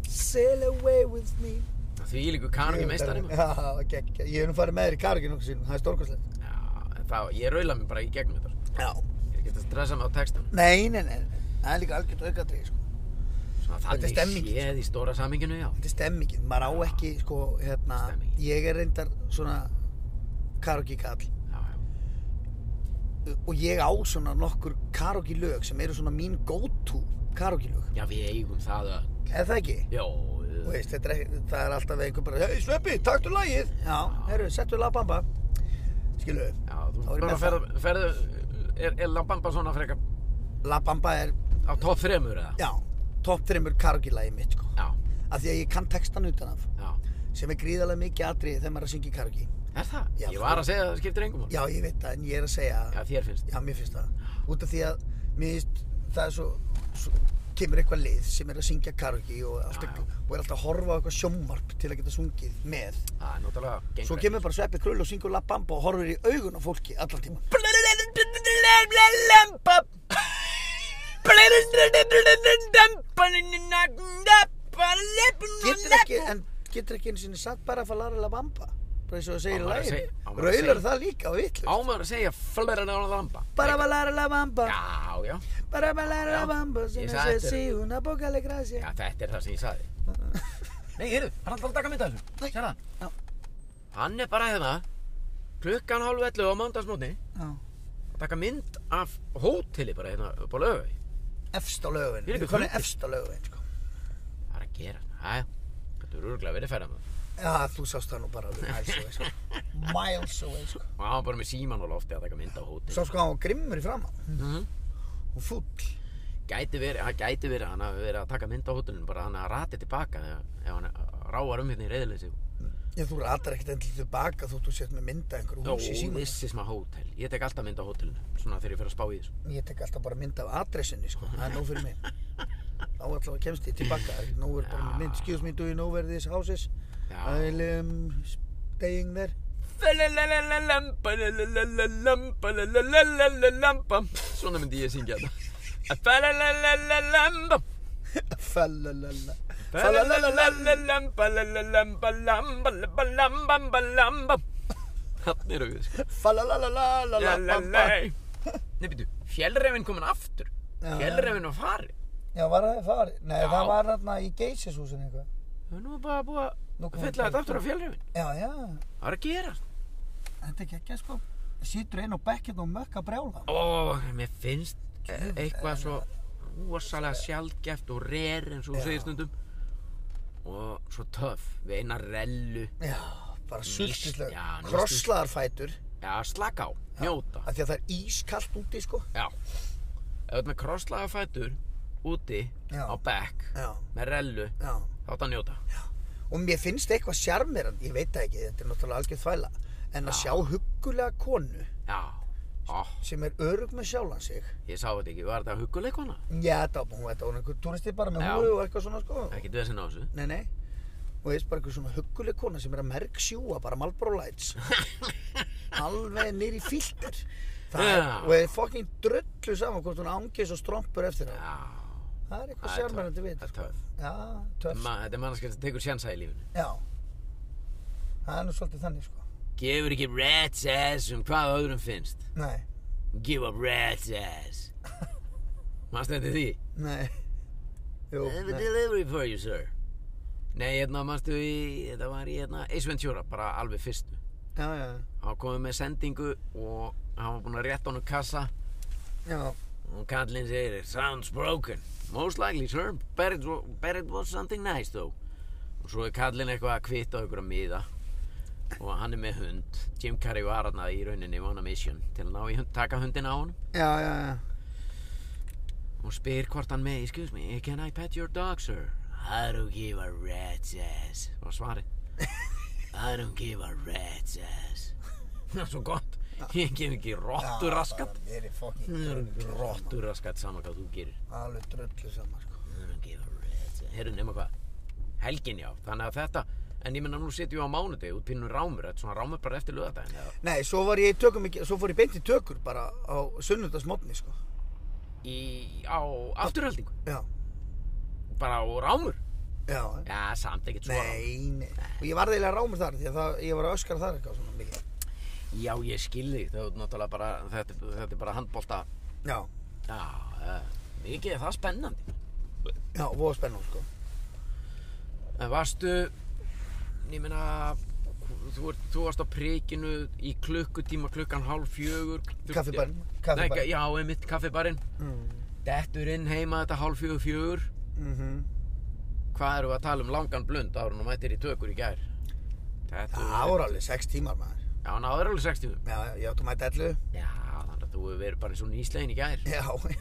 Speaker 2: Sail away with me.
Speaker 1: Því líku kanungi meistari maður.
Speaker 2: Já, gekk. Ég hef nú farið með þér í kargi nokkuð sínum. Það er stórkostlegt.
Speaker 1: Já, en það, ég raula mig bara í gegnum þetta.
Speaker 2: Já.
Speaker 1: Ég get að stressa mig á textan.
Speaker 2: Nei, nei, nei. nei. Það er líka algjört aukatrið, sko.
Speaker 1: Svona
Speaker 2: Þetta er
Speaker 1: þannig
Speaker 2: stemming, sko.
Speaker 1: séð í stóra saminginu, já.
Speaker 2: Þetta er stemmingin. Maður á ekki, sko, hérna.
Speaker 1: Stemmingin.
Speaker 2: Ég er reyndar svona kargi kall.
Speaker 1: Já, já.
Speaker 2: Og ég á svona nokkur kargi lög sem eru svona mín go-to kargi lög.
Speaker 1: Já, við eigum það að... uh,
Speaker 2: Er það ekki?
Speaker 1: Jó,
Speaker 2: Þú veist, þetta er, ekki- það er alltaf einhver bara Hei Sveppi, taktu lagið Já, herru, settu labamba Skilu,
Speaker 1: já, þú
Speaker 2: Þá er ég
Speaker 1: bara
Speaker 2: með
Speaker 1: ferð, ferðu... Er, er Labamba svona frekar
Speaker 2: labamba er,
Speaker 1: á topp þremur eða?
Speaker 2: já, topp þreymur kargilagið mitt sko.
Speaker 1: Já,
Speaker 2: Af því að ég kann textan utan af
Speaker 1: já.
Speaker 2: Sem er gríðarlega mikið atrið þegar maður er að syngja í kargi
Speaker 1: Er það?
Speaker 2: Já,
Speaker 1: ég
Speaker 2: þú-
Speaker 1: var að segja að það skiptir engum mál.
Speaker 2: Já, ég veit það, en ég er að segja
Speaker 1: Já, þér finnst.
Speaker 2: Já, mér finnst það Út af því að, mér finnst, það er svo, svo Kemur eitthvað lið sem er að syngja kargi og, alltaf,
Speaker 1: Já, já.
Speaker 2: og er alltaf að horfa á eitthvað sjómvarp til að geta sungið með
Speaker 1: Það er náttúrulega gengur.
Speaker 2: Svo kemur bara Sveppi Krull og syngur labamba og horfir í augun á fólki allan tíma getur ekki, en getur ekki einu sinni satt bara að fara að labamba bara eins og það
Speaker 1: Á
Speaker 2: segir
Speaker 1: maður að
Speaker 2: lægin
Speaker 1: segja- á maður að
Speaker 2: raular
Speaker 1: segja-
Speaker 2: það líka og vitlu
Speaker 1: Ámaður að segja flera nála lamba.
Speaker 2: bara að lara labamba
Speaker 1: Já, já,
Speaker 2: bara að lara
Speaker 1: Já.
Speaker 2: labamba
Speaker 1: Ég
Speaker 2: sem
Speaker 1: sagði
Speaker 2: að
Speaker 1: þetta
Speaker 2: sé
Speaker 1: er-
Speaker 2: una boca le gracia
Speaker 1: já, þetta er það sem ég sagði. <laughs> Nei, heyrðu, hann er alltaf að taka mynda þessu.
Speaker 2: Nei.
Speaker 1: Sér það?
Speaker 2: Já.
Speaker 1: Hann er bara hérna, klukkan hálf 11 á mándagsmótni,
Speaker 2: Já.
Speaker 1: að taka mynd af hóteli bara hérna upp á lögavegi.
Speaker 2: efst á lögvin
Speaker 1: Ég er
Speaker 2: við
Speaker 1: ekki
Speaker 2: konum
Speaker 1: fundið.
Speaker 2: efst á lögvin sko.
Speaker 1: Það er að gera. Æja, þetta er örgulega verið ferðan það.
Speaker 2: já þú sást það nú bara alveg miles away sko. miles away sko.
Speaker 1: Og hann var bara með síman og lofti að taka mynd af hóteli.
Speaker 2: svo sko hann var grimmur í framá
Speaker 1: Mhm.
Speaker 2: og fúll
Speaker 1: Gæti verið, hann gæti verið, hann hafi verið að taka mynd á hótelinu, bara hann að rati tilbaka þegar- ef hann ráar um hérna í reyðleysi.
Speaker 2: Já, þú ratar ekkert endilega tilbaka þótt þú sért með mynda einhverju
Speaker 1: Jó,
Speaker 2: hús í síma.
Speaker 1: this is my hotel. Ég tek alltaf mynd á hótelinu, svona þegar ég fer að spá í þessu.
Speaker 2: Ég tek alltaf bara mynd af adressinni, sko. Það er nóg fyrir mig. Þá alltaf kemst ég tilbaka. Nú er bara með mynd, excuse me, do you know where this house is?
Speaker 1: Já.
Speaker 2: I'll um, staying there.
Speaker 1: Svona myndi ég syngja þetta
Speaker 2: Falalala. Falalala.
Speaker 1: Þannig eru við sko.
Speaker 2: Falalala.
Speaker 1: Nei býtu, fjellrefin komin aftur
Speaker 2: Já.
Speaker 1: Fjellrefin var farin
Speaker 2: Já, var það farið? Nei,
Speaker 1: Já.
Speaker 2: það var hérna í geysishúsinu eitthvað.
Speaker 1: Það er nú bara búið
Speaker 2: Nú
Speaker 1: að
Speaker 2: komin
Speaker 1: fylla
Speaker 2: fjell-
Speaker 1: þetta aftur á fjellrefin
Speaker 2: Já, já.
Speaker 1: Það er að gera
Speaker 2: Þetta er geggja, sko. Sýtur einn og bekkinn og mökk að brjála.
Speaker 1: Ó, mér finnst eh, eitthvað svo rosalega sjaldgæft og rer eins og þú
Speaker 2: Já.
Speaker 1: segir stundum og svo töff við eina rellu
Speaker 2: Já, bara sultislega.
Speaker 1: já, níst-
Speaker 2: Krosslaðarfætur.
Speaker 1: Já, slaka á, njóta
Speaker 2: Af því að það er ískallt úti, sko.
Speaker 1: Já Ef þú ert með krosslaga fætur úti
Speaker 2: Já.
Speaker 1: á bekk
Speaker 2: Já,
Speaker 1: með rellu
Speaker 2: já.
Speaker 1: þá þetta að njóta
Speaker 2: Og mér finnst eitthvað sjarmeran, ég veit það ekki, þetta er náttúrulega algjörð þvæla, en að sjá huggulega konu
Speaker 1: Já Ó,
Speaker 2: sem er örug með sjálfan sig.
Speaker 1: ég sá þetta ekki, var þetta hugguleik hana?
Speaker 2: Já, þetta var bara, hún þetta var einhver túristi bara með
Speaker 1: Já.
Speaker 2: húru og eitthvað svona, sko.
Speaker 1: Ekki dvesin á þessu
Speaker 2: Nei, nei. Og veist bara eitthvað svona hugguleg
Speaker 1: <laughs>
Speaker 2: kona sem er að merksjúa bara Marlboro Lights. Alveg nýri filter. Það er,
Speaker 1: Já.
Speaker 2: og þeir fucking drullu saman hvort hún ángis og strompur eftir það.
Speaker 1: Já,
Speaker 2: Það er eitthvað
Speaker 1: það er
Speaker 2: sjármennandi við
Speaker 1: það er
Speaker 2: þetta.
Speaker 1: töff.
Speaker 2: sko. Já, töff.
Speaker 1: Ma, þetta er mannskjöld sem tekur sjansa í lífinu.
Speaker 2: Já. Það er nú svolítið þannig, sko.
Speaker 1: Gefur ekki rat's ass um hvað öðrum finnst.
Speaker 2: Nei,
Speaker 1: Give up rat's ass. Manstu þetta því?
Speaker 2: nei. <laughs> Jú,
Speaker 1: I have a
Speaker 2: nei.
Speaker 1: delivery for you, sir. Nei, hérna, manstu í, þetta var í, hérna, Ace Ventura, bara alveg fyrstu.
Speaker 2: Já, já,
Speaker 1: Hann komið með sendingu og hann var búinn að rétta honum kassa
Speaker 2: já.
Speaker 1: og kallinn segir, it sounds broken. Most likely, sir, but it, wa- but it was something nice, though. Og svo er kallinn eitthvað að kvitta okkur að miða og hann er með hund. Jim Carrey var hann í rauninni on a mission til að ná í hund, taka hundin á honum
Speaker 2: Já, já, já.
Speaker 1: og spyr hvort hann með, excuse me, can I pet your dog, sir? I don't give a rat's ass. Var svarið. <laughs> I don't give a rat's ass. <laughs> Ah. Það er svo gott. Ég gef ekki rottu raskat.
Speaker 2: Það er
Speaker 1: Það
Speaker 2: fucking sko.
Speaker 1: eru rottur raskat saman hvað þú gerir.
Speaker 2: alveg drullu saman, sko.
Speaker 1: I don't give a rat's ass. Herru, nema hvað? Helgin já, þannig að þetta, en ég menna nú setjum við á mánudegi út pínum rámur, þetta er svona rámur bara eftir lögadaginn. eða
Speaker 2: Nei, svo var ég í tökum, ekki- svo fór ég beint í tökur bara á sunnudagsmotni, sko.
Speaker 1: Í, á afturhaldingu,
Speaker 2: Já,
Speaker 1: bara á rámur.
Speaker 2: já.
Speaker 1: Já, samt ekkert svo rámur.
Speaker 2: Nei, nei. Og ég var eiginlega rámur þar, því að það, ég var að öskara þar eitthvað svona mikið.
Speaker 1: Já, ég skil þig, það er náttúrulega bara, þetta, þetta er bara handbólta.
Speaker 2: Já.
Speaker 1: Já, eh, mikið er það spennandi.
Speaker 2: Já, voða spennum, sko.
Speaker 1: En varstu, ég meina, þú, ert- þú varst á prikinu í klukkutíma, klukkan hálf fjögur. þurfti-
Speaker 2: Kaffibarinn.
Speaker 1: Nei,
Speaker 2: Kaffibarinn.
Speaker 1: já, einmitt kaffibarinn.
Speaker 2: Mm.
Speaker 1: Dettur inn heima þetta hálf fjögur fjögur.
Speaker 2: Mm
Speaker 1: Mhm. Hvað eru að tala um langan blund ára og mættir í tökur í gær? Þetta
Speaker 2: Það voru alveg 6 tímar, maður.
Speaker 1: Já, hann áður alveg 60.
Speaker 2: Já, já, ég átt að mæta 11.
Speaker 1: Já, þannig að þú hefur verið bara eins og nýslegin í gær.
Speaker 2: Já, já.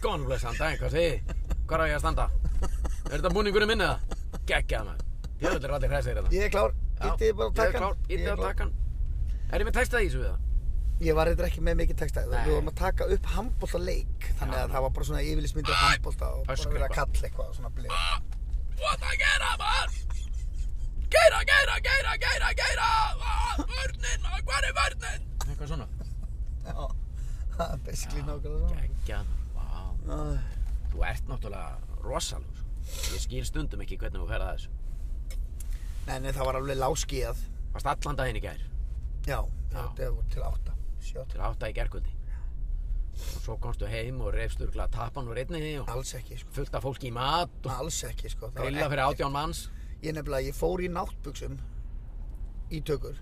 Speaker 1: Góðan og blessan daginn, hvað segið þið? Hvar á ég að standa? Er þetta búningurinn minn eða? Gekkjað maður. Þjóðvöldur allir hræsir hérna. þetta.
Speaker 2: Ég er klár. Ítið bara að taka hann.
Speaker 1: Ítið að taka hann. Er ég með textað í þessu við það?
Speaker 2: Ég var eitthvað ekki með mikið texta.
Speaker 1: Nei.
Speaker 2: Við vorum að taka upp handbólta leik. Þannig
Speaker 1: Já.
Speaker 2: að það var bara svona yfirlýsmyndir handbólta og bara
Speaker 1: Öskra
Speaker 2: verið að
Speaker 1: eitthvað.
Speaker 2: kalla eitthvað og svona blið.
Speaker 1: Hvað það gera maður? Geira, geira, geira, geira, geira! Ah, Vörnin, hvað er vörnin? Eitthvað svona.
Speaker 2: Já, <laughs> það er basically nákvæmlega svona.
Speaker 1: Gekkjað maður, vá.
Speaker 2: Æ,
Speaker 1: Þú ert náttúrulega rosalús. Ég skil stundum ekki hvernig þú ferða þessu.
Speaker 2: Nei, nei, það var alveg láskíðað.
Speaker 1: Varst allan daginn í gær,
Speaker 2: Já,
Speaker 1: Já.
Speaker 2: það var til átta. Sjótt.
Speaker 1: til átta í gærkvöldi. Og svo komstu heim og reyfst örgulega tappan úr einni og
Speaker 2: Alls ekki, sko.
Speaker 1: fullt af fólki í mat og
Speaker 2: Alls ekki, sko. Það var
Speaker 1: grilla fyrir
Speaker 2: ekkert.
Speaker 1: átján manns.
Speaker 2: Ég nefnilega, ég fór í náttbuksum í tökur.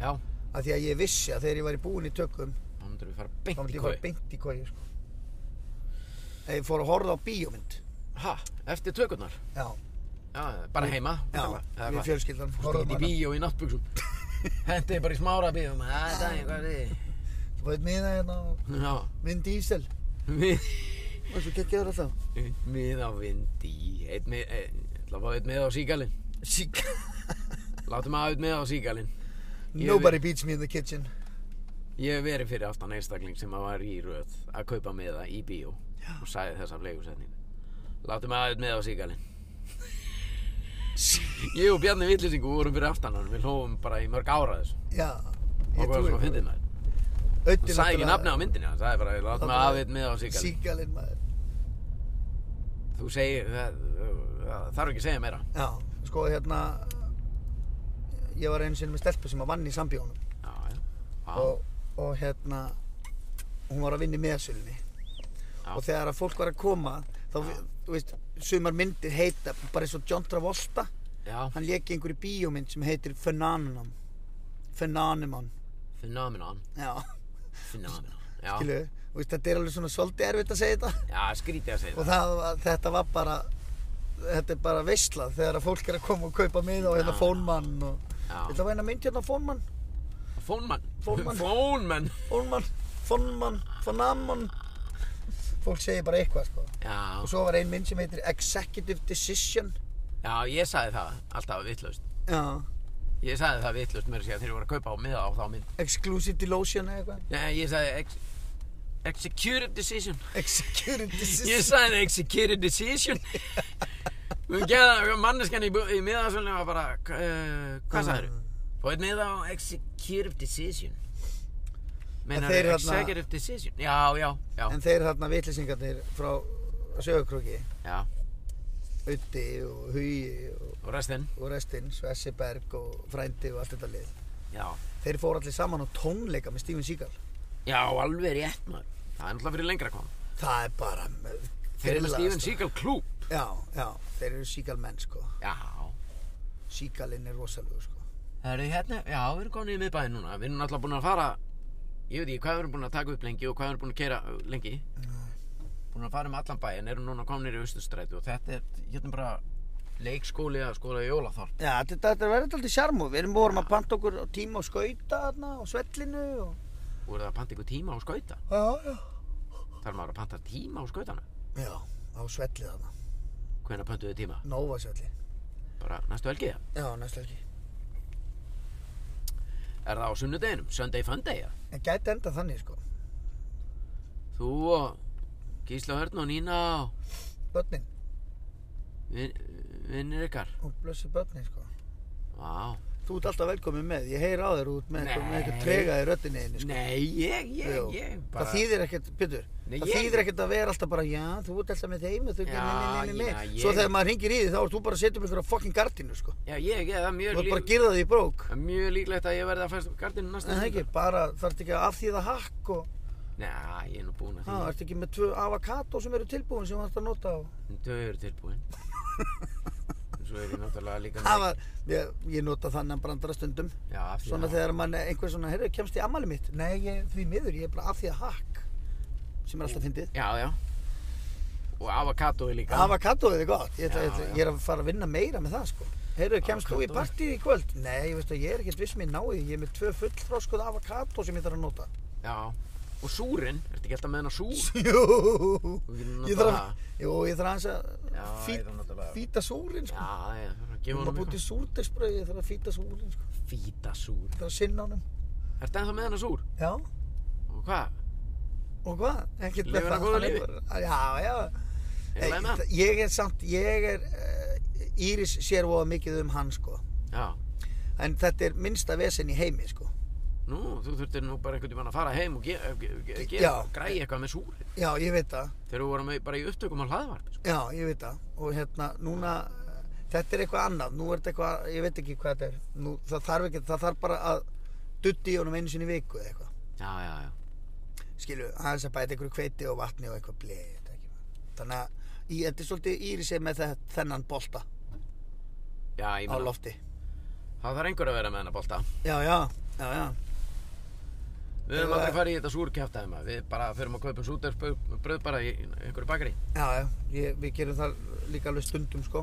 Speaker 1: Já,
Speaker 2: Af því að ég vissi að þegar ég væri búinn í tökum,
Speaker 1: þá myndur við fara
Speaker 2: þá
Speaker 1: beint
Speaker 2: myndi
Speaker 1: í
Speaker 2: ég fara
Speaker 1: kói.
Speaker 2: beint í kói, sko. Ef ég fór að horfa á bíómynd.
Speaker 1: Ha, eftir tökurnar.
Speaker 2: Já,
Speaker 1: Já, bara heima.
Speaker 2: já,
Speaker 1: eða
Speaker 2: við
Speaker 1: hvað?
Speaker 2: fjölskyldan.
Speaker 1: Fórstu ekki í
Speaker 2: horfðum á hana.
Speaker 1: bíó í
Speaker 2: <laughs>
Speaker 1: náttbuksum. Hendi bara í smára bíóum. Það er daginn, hvað er þið?
Speaker 2: Þú veit miða hérna á
Speaker 1: Já,
Speaker 2: Vin Diesel.
Speaker 1: mið,
Speaker 2: Og svo geggjaður alltaf.
Speaker 1: mið á vindi. Eitt mið, eitt, ætla að fá eitt mið á síkalinn.
Speaker 2: Sík.
Speaker 1: Látum að hafa eitt mið á síkalinn. <laughs> Ég
Speaker 2: Nobody beats me in the kitchen.
Speaker 1: Ég hef verið fyrir aftan einstakling sem að var í röð að kaupa miða í bíó og sagði þessa flegusetningu. Láttu mig aðeins með á síkalinn. ég og Bjarni Villisingu vorum fyrir aftan hann, við hlófum bara í mörg ára þessu.
Speaker 2: Já.
Speaker 1: Og hvað var svona fyndið maður? Hann sagði ekki nafni á myndinni, hann sagði bara láttu mig aðeins með á síkalinn.
Speaker 2: Síkalinn maður.
Speaker 1: Þú segir, það, það þarf ekki að segja meira.
Speaker 2: Já, sko hérna, ég var einu sinni með stelpu sem að vann í sambíónum.
Speaker 1: Já, já. Vá.
Speaker 2: og, og hérna hún var að vinna í meðasölunni
Speaker 1: Já.
Speaker 2: og þegar að fólk var að koma þá, þú veist, sumar myndir heita bara eins og John Travolta
Speaker 1: já,
Speaker 2: hann lék í einhverju bíómynd sem heitir Phenomenon Phenomenon,
Speaker 1: phenomenon,
Speaker 2: já,
Speaker 1: phenomenon. Já,
Speaker 2: skilu þú veist, þetta er alveg svona svolítið erfitt að segja þetta
Speaker 1: já skrítið að segja
Speaker 2: og
Speaker 1: það.
Speaker 2: það, var- þetta var bara þetta er bara veislað þegar að fólk er að koma og kaupa miða og hérna
Speaker 1: Já.
Speaker 2: fónmann og
Speaker 1: Já.
Speaker 2: þetta var hérna mynd hérna fónmann
Speaker 1: Fónmann.
Speaker 2: Fónmann.
Speaker 1: Fónmann.
Speaker 2: fónmann, fónmann, fónmann fólk segir bara eitthvað sko
Speaker 1: Já.
Speaker 2: Og svo var ein mynd sem heitir Executive Decision.
Speaker 1: já, ég sagði það alltaf vitlaust.
Speaker 2: Já.
Speaker 1: Ég sagði það vittlust mér að segja þegar ég voru að kaupa á miða á þá mynd.
Speaker 2: Exclusive Delusion eða eitthvað.
Speaker 1: Nei, ég sagði ex executive decision.
Speaker 2: Executive Decision.
Speaker 1: <laughs> Ég sagði executive
Speaker 2: <laughs>
Speaker 1: decision. Við geða manneskan í, bu- í miðasölinu var bara, eh,
Speaker 2: Ah.
Speaker 1: uh, hvað sagður? Fóðið miða á executive decision. Meinar
Speaker 2: þeir þarna-
Speaker 1: executive decision? Já, já, já,
Speaker 2: En þeir þarna vitlisingarnir frá sögurkróki,
Speaker 1: já.
Speaker 2: Utti og Hugi og,
Speaker 1: Og restinn?
Speaker 2: og restinn, Svessi Berg og Frændi og allt þetta lið.
Speaker 1: Já.
Speaker 2: Þeir fóru allir saman á tónleika með Steven Seagal.
Speaker 1: Já, alveg rétt maður. Það er náttúrulega fyrir lengra kom.
Speaker 2: Það er bara...
Speaker 1: Þeir
Speaker 2: með-
Speaker 1: eru með
Speaker 2: grillaðasta.
Speaker 1: Steven Seagal klúb.
Speaker 2: Já, já, þeir eru Seagal menn sko.
Speaker 1: Já.
Speaker 2: Seagalinn er rosalegur sko.
Speaker 1: Herðu hérna, já, við erum komin í miðbæðin núna. Við erum náttúrulega búin að fara, ég veit ekki hvað við erum búin að taka upp lengi og hvað við erum búin að keira lengi.
Speaker 2: Mm.
Speaker 1: Búin að fara um allan bæin, erum núna komin í austurstræti og þetta er, hérna er bara leikskóli að skóla í Jólaþorp.
Speaker 2: Já, þetta, þetta verður alltaf sjarmú. Við erum vorum að panta okkur á tíma á skauta þarna og svellinu og...
Speaker 1: Þú eru að panta ykkur tíma á skauta.
Speaker 2: Já, já.
Speaker 1: Þarf maður að panta tíma á skautana?
Speaker 2: Já, á svellið þarna.
Speaker 1: Hvenær pöntuðu tíma?
Speaker 2: Nóa svelli.
Speaker 1: Bara næstu helgiða?
Speaker 2: Já, næstu ekki.
Speaker 1: Er það á sunnudeginum? Sunday Funday, ja?
Speaker 2: En gæti enda þannig sko.
Speaker 1: Þú og Gísla Hörn og Nína og
Speaker 2: Börnin,
Speaker 1: vin- vinnir ykkar.
Speaker 2: hún blössi börnin sko.
Speaker 1: Vá.
Speaker 2: Þú ert alltaf velkomin með, ég heyr á þér út með eitthvað, með eitthvað
Speaker 1: Nei.
Speaker 2: trega í röddinni einu, sko.
Speaker 1: Nei, ég,
Speaker 2: Jú.
Speaker 1: ég, ég. Bara...
Speaker 2: Það þýðir ekkert, Pétur,
Speaker 1: Nei,
Speaker 2: það
Speaker 1: ég-
Speaker 2: þýðir ekkert að vera alltaf bara, já, þú ert alltaf með þeim og þú, nei,
Speaker 1: Já,
Speaker 2: nei, nei, nei, nei.
Speaker 1: já, ég-
Speaker 2: Svo þegar maður hringir í því þá ert þú bara að setja upp ykkur á fucking gardinu, sko.
Speaker 1: Já, ég, ég, það er mjög,
Speaker 2: Þú ert bara
Speaker 1: lík...
Speaker 2: að gyrða því í brók.
Speaker 1: það er mjög líklegt að ég verði að fæst gardinu
Speaker 2: En
Speaker 1: næstu
Speaker 2: það ekki, bara þarf ekki að afþýða hakk og,
Speaker 1: Nei, ég er nú búinn að
Speaker 2: það
Speaker 1: því.
Speaker 2: ert ekki með tvö avokado sem eru tilbúin sem þú ætti að nota á.
Speaker 1: Þau eru
Speaker 2: <laughs>
Speaker 1: tilbúin. En Svo er ég náttúrulega líka
Speaker 2: Það var, ég, ég nota þannig brandara stundum.
Speaker 1: Já, af því
Speaker 2: Svona
Speaker 1: að-
Speaker 2: þegar mann, einhver svona, heyrðu, kemst í ammali mitt. Nei, ég, því miður, ég er bara afþýða hakk sem er alltaf fyndið.
Speaker 1: Já, já. Og avokadoi líka.
Speaker 2: Avokadóið er gott, ég, ætla,
Speaker 1: Já,
Speaker 2: ég, ætla,
Speaker 1: já.
Speaker 2: ég er að fara að vinna meira með það sko Heyrðu, kemst þú í
Speaker 1: Avocado.
Speaker 2: partíð í kvöld? Nei, ég veist að ég er ekkert viss með ég nái því, ég er með tvö fullþróskuð avokadó sem ég þarf að nota
Speaker 1: Já. Og súrin, ertu ekki alltaf með hennar súr?
Speaker 2: Jú,
Speaker 1: Þú getur
Speaker 2: ég
Speaker 1: notað
Speaker 2: þarf,
Speaker 1: það.
Speaker 2: jú, ég þarf aðeins að
Speaker 1: Já, ég
Speaker 2: fít-
Speaker 1: þarf náttúrulega-
Speaker 2: fýta súrin
Speaker 1: Já,
Speaker 2: sko
Speaker 1: það er að
Speaker 2: Ég
Speaker 1: gefa
Speaker 2: er að
Speaker 1: honum
Speaker 2: búti
Speaker 1: eitthvað.
Speaker 2: súrdeigsbröð, ég þarf að fýta súrin sko
Speaker 1: Fýta súr.
Speaker 2: Ég þarf að sinna honum
Speaker 1: Ertu ennþá með hennar súr?
Speaker 2: Já,
Speaker 1: Og hvað?
Speaker 2: og hvað? Ekkert
Speaker 1: Lifir hann góðu
Speaker 2: hann er
Speaker 1: lífi?
Speaker 2: bara- Já, já
Speaker 1: Er það
Speaker 2: Ég-
Speaker 1: með hann?
Speaker 2: Ég er samt, ég er uh, Íris sér voða mikið um hann sko
Speaker 1: Já.
Speaker 2: En þetta er minnsta vesen í heimi sko
Speaker 1: Nú, þú þurftir nú bara einhvern tímann að fara heim og ge- ge- ge- ge-
Speaker 2: Já.
Speaker 1: græja eitthvað með súri.
Speaker 2: Já, ég veit það
Speaker 1: Þegar þú vorum í- bara í upptökum á hlaðvarpi, sko.
Speaker 2: Já, ég veit það og hérna, núna þetta er eitthvað annað, nú er þetta eitthvað ég veit ekki hvað þetta er nú, það, þarf ekki, það þarf bara að dutti í honum einu sinni í viku eða eitthvað
Speaker 1: Já, já, já.
Speaker 2: skilu, aðeins að bæta einhverju hveiti og vatni og eitthvað bleið þetta ekki maður. þannig að í, þetta er svolítið Íris er með þe- þennan bolta
Speaker 1: Já, ég
Speaker 2: á
Speaker 1: meina,
Speaker 2: lofti
Speaker 1: það þarf einhver að vera með hennar bolta.
Speaker 2: já, já, já, já,
Speaker 1: Við höfum
Speaker 2: Ef
Speaker 1: aldrei
Speaker 2: að-
Speaker 1: farið í þetta súrkjæftæði maður. Við bara förum að kaupum súrdersbröð bara í einhverju bakari.
Speaker 2: já, já ég, við gerum það líka alveg stundum sko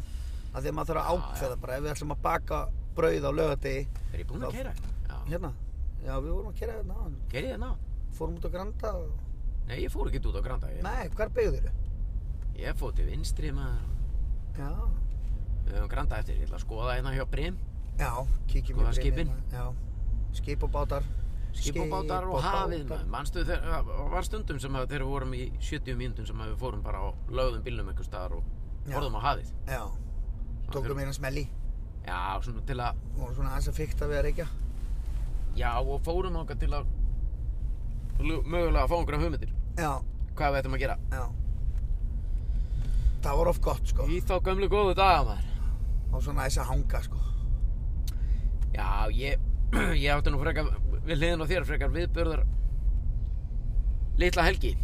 Speaker 2: að því að maður þarf að
Speaker 1: Já,
Speaker 2: ákveða bara ef við ætlum að baka brauð á lögadegi
Speaker 1: Er ég búinn að
Speaker 2: Já.
Speaker 1: keira? Já.
Speaker 2: hérna, já, við vorum að kera þetta áðan.
Speaker 1: Gerið þið ná?
Speaker 2: fórum út á Granda og...
Speaker 1: Nei, ég fór ekki út á Granda. Ég,
Speaker 2: nei, hvar beigður
Speaker 1: ég fór til vinstri maður.
Speaker 2: Já,
Speaker 1: Við höfum Granda eftir. Ég ætla að skoða hérna hjá Brim.
Speaker 2: já, kíkjum
Speaker 1: Skoða
Speaker 2: í brimið,
Speaker 1: skipin.
Speaker 2: maður. Já, skip og bátar.
Speaker 1: skipabátar og hafið
Speaker 2: bátar.
Speaker 1: maður, manstu þegar, það var stundum sem að þegar við vorum í 70 mínútum sem að við fórum bara og lögðum bílnum einhver staðar og
Speaker 2: Já.
Speaker 1: horfðum á hafið
Speaker 2: Já,
Speaker 1: Svona
Speaker 2: tókum
Speaker 1: fyrir-
Speaker 2: eina smelli.
Speaker 1: já, svona til að,
Speaker 2: Vorum svona aðeins að fykta við að reykja.
Speaker 1: já og fórum okkar til að lu- mögulega að fá einhverja hugmyndir
Speaker 2: Já,
Speaker 1: hvað við ættum að gera
Speaker 2: já. Það var oft gott, sko.
Speaker 1: í þá gömlu góðu daga maður
Speaker 2: Og svona aðeins að hanga, sko.
Speaker 1: já, ég, <clears throat> ég átti nú frekar við hliðin á þér frekar viðbörðar litla helgi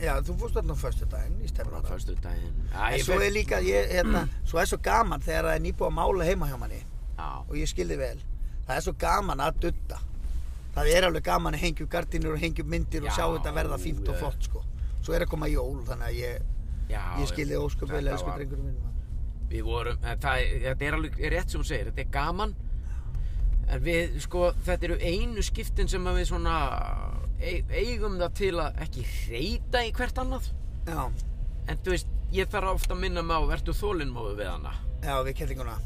Speaker 2: Já, þú fórst þarna á föstu daginn í
Speaker 1: bara
Speaker 2: stefnum.
Speaker 1: fyrstu daginn já,
Speaker 2: En
Speaker 1: ég
Speaker 2: svo
Speaker 1: fer-
Speaker 2: er líka, ég, hérna, svo er svo gaman þegar það er nýbúið að mála heima hjá manni
Speaker 1: já,
Speaker 2: og ég skildi vel. Það er svo gaman að dutta. Það er alveg gaman að hengja upp gardinur og hengja upp myndir og
Speaker 1: Já,
Speaker 2: sjá þetta verða fínt og
Speaker 1: já.
Speaker 2: flott, sko. Svo er að koma jól, þannig að ég,
Speaker 1: já,
Speaker 2: Ég skilði ósköp vel,
Speaker 1: Þetta
Speaker 2: elsku
Speaker 1: var-
Speaker 2: drengurinn minn. maður.
Speaker 1: Við vorum, eh, það, þetta er alveg rétt sem hún segir, þetta er gaman en við, sko, þetta eru einu skiptin sem að við svona ei- eigum það til að ekki reyta í hvert annað
Speaker 2: Já,
Speaker 1: en þú veist, ég þarf ofta að minna mig á verður þólinnmóðu við hana
Speaker 2: já, við kellinguna.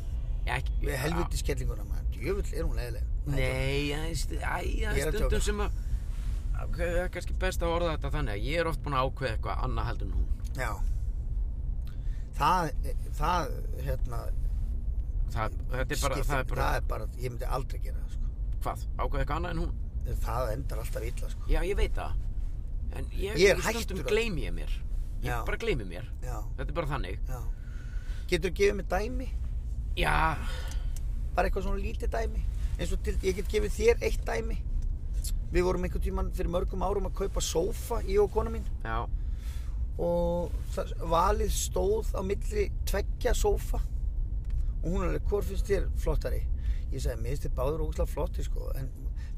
Speaker 1: ekki,
Speaker 2: Við helvitis kellinguna, maður. Djöfull er hún leiðileg.
Speaker 1: Nei, það er st- æ, það
Speaker 2: Ég er
Speaker 1: er
Speaker 2: að
Speaker 1: stundum
Speaker 2: djóka.
Speaker 1: sem að ok, það er kannski best að orða þetta þannig að ég er oft búinn að ákveða eitthvað annað heldur en hún
Speaker 2: Já. Það, eh, það, hérna,
Speaker 1: það, þetta er bara,
Speaker 2: skiptir-
Speaker 1: það er bara,
Speaker 2: það er bara, ég myndi aldrei gera það, sko.
Speaker 1: hvað, ákveða eitthvað annað en hún
Speaker 2: en það endar alltaf illa sko.
Speaker 1: Já, ég veit það. En ég,
Speaker 2: Ég er
Speaker 1: stundum
Speaker 2: hættur að-
Speaker 1: gleymi ég mér. Ég
Speaker 2: Já.
Speaker 1: bara gleymi mér.
Speaker 2: Já,
Speaker 1: Þetta er bara þannig.
Speaker 2: já. Getur þú gefið mér dæmi?
Speaker 1: Já,
Speaker 2: Bara eitthvað svona lítið dæmi? Eins og til, ég get gefið þér eitt dæmi. Við vorum einhvern tíman fyrir mörgum árum að kaupa sófa í og kona mín
Speaker 1: já,
Speaker 2: og það, valið stóð á milli tveggja sófa og hún alveg, hvort finnst þér flottari? Ég sagði, mér finnst þér báður ógustlega flotti sko, en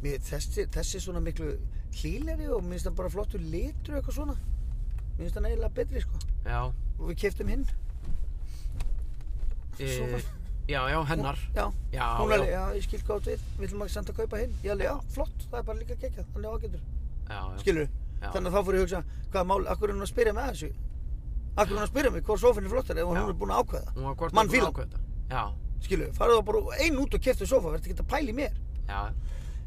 Speaker 2: mér, þessi, þessi er svona miklu hlýleri og mér finnst það bara flottur litur og eitthvað svona mér finnst það eiginlega betri sko
Speaker 1: já.
Speaker 2: og við keftum hinn
Speaker 1: E,
Speaker 2: Sófa.
Speaker 1: Eh, já, já, hennar.
Speaker 2: já,
Speaker 1: Já,
Speaker 2: hún
Speaker 1: já.
Speaker 2: alveg, já, ég skil gátt við við viljum ekki senda að kaupa hinn ég alveg, já, flott, það er bara líka geggjað, þannig ágætur
Speaker 1: Já, já.
Speaker 2: skilur
Speaker 1: Já.
Speaker 2: þannig að þá fór ég að hugsa, hvaða mál, akkur er hún að spyrja með þessu akkur er hún að spyrja mig hvort sófinn er flottari ef hún
Speaker 1: Já.
Speaker 2: er búin að ákveða
Speaker 1: Hún var hvort búin
Speaker 2: Mann
Speaker 1: að
Speaker 2: fílan.
Speaker 1: ákveða þetta. Já,
Speaker 2: skilu, farið þá bara einn út og keftu sofa, verður ekki að pæla í mér
Speaker 1: já.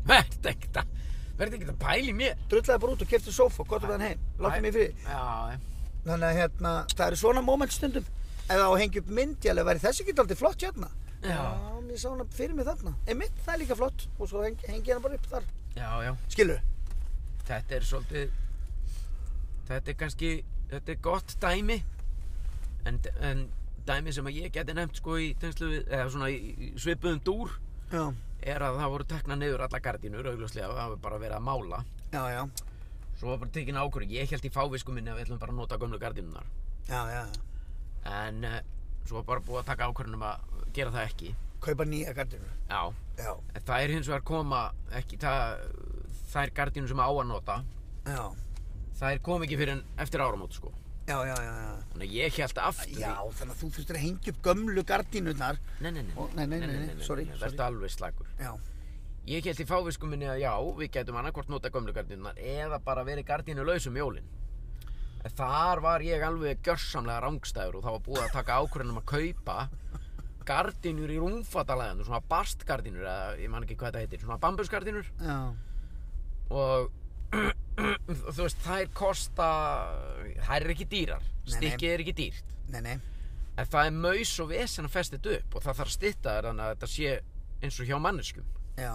Speaker 1: Verði ekkert að, verði ekkert að pæli mér.
Speaker 2: drullaði bara út og keftu sofa, gott um þann heim láttu mig í friði,
Speaker 1: Já, já.
Speaker 2: þannig að hérna það eru svona moment stundum ef það á að hengja upp mynd, ég alveg væri þessi ekki alltaf flott hérna
Speaker 1: Já.
Speaker 2: ég sá hana fyrir mig þarna einmitt, það er líka flott og svo hengi, hengi hana bara upp þar
Speaker 1: já, já.
Speaker 2: skilu,
Speaker 1: Þetta er svolítið, þetta er kannski, þetta er gott dæmi, en, en dæmi sem að ég geti nefnt sko í tengslu við, eða svona í í svipuðum dúr,
Speaker 2: já,
Speaker 1: er að það voru tekna niður alla gardínur, augljóslega, það var bara verið að mála.
Speaker 2: já, já
Speaker 1: Svo var bara tekin ákvörðu, ég held í fávisku minni að við ætlum bara að nota gömlu gardínunar.
Speaker 2: já, já,
Speaker 1: En uh, svo var bara búið að taka ákvörðunum að gera það ekki.
Speaker 2: kaupa nýja gardinu
Speaker 1: Já,
Speaker 2: já,
Speaker 1: en það er hins vegar koma, ekki það, þær gardínur sem á að nota,
Speaker 2: já,
Speaker 1: þær kom ekki fyrir en eftir áramót sko.
Speaker 2: já, já, já, já.
Speaker 1: Þannig að ég held aftur í-
Speaker 2: Já, þannig að þú þurftir að hengja upp gömlu gardínurnar
Speaker 1: Nei, nei, nei,
Speaker 2: Ó, nei, nei, nei, nei, sorry, sorry.
Speaker 1: Vertu alveg slagur
Speaker 2: Já,
Speaker 1: Ég held í fávisku minni að já, við gætum annarkvort nota gömlu gardínunar eða bara verið gardínu lausum jólin En Þar var ég alveg gjörsamlega rángstæður og það var búið að taka ákvörðunum að kaupa gardínur í rúmfatalæðinu, svona bastgardínur eða ég man ekki hvað þetta heitir, svona bambusgardínur
Speaker 2: já,
Speaker 1: og <clears throat> þú veist, þær kosta þær eru ekki dýrar,
Speaker 2: Nei, nei.
Speaker 1: stikkið er ekki dýrt
Speaker 2: nei, nei
Speaker 1: En það er maus og vesen að festa þetta upp og það þarf að stytta þér þannig að þetta sé eins og hjá manneskum.
Speaker 2: Já,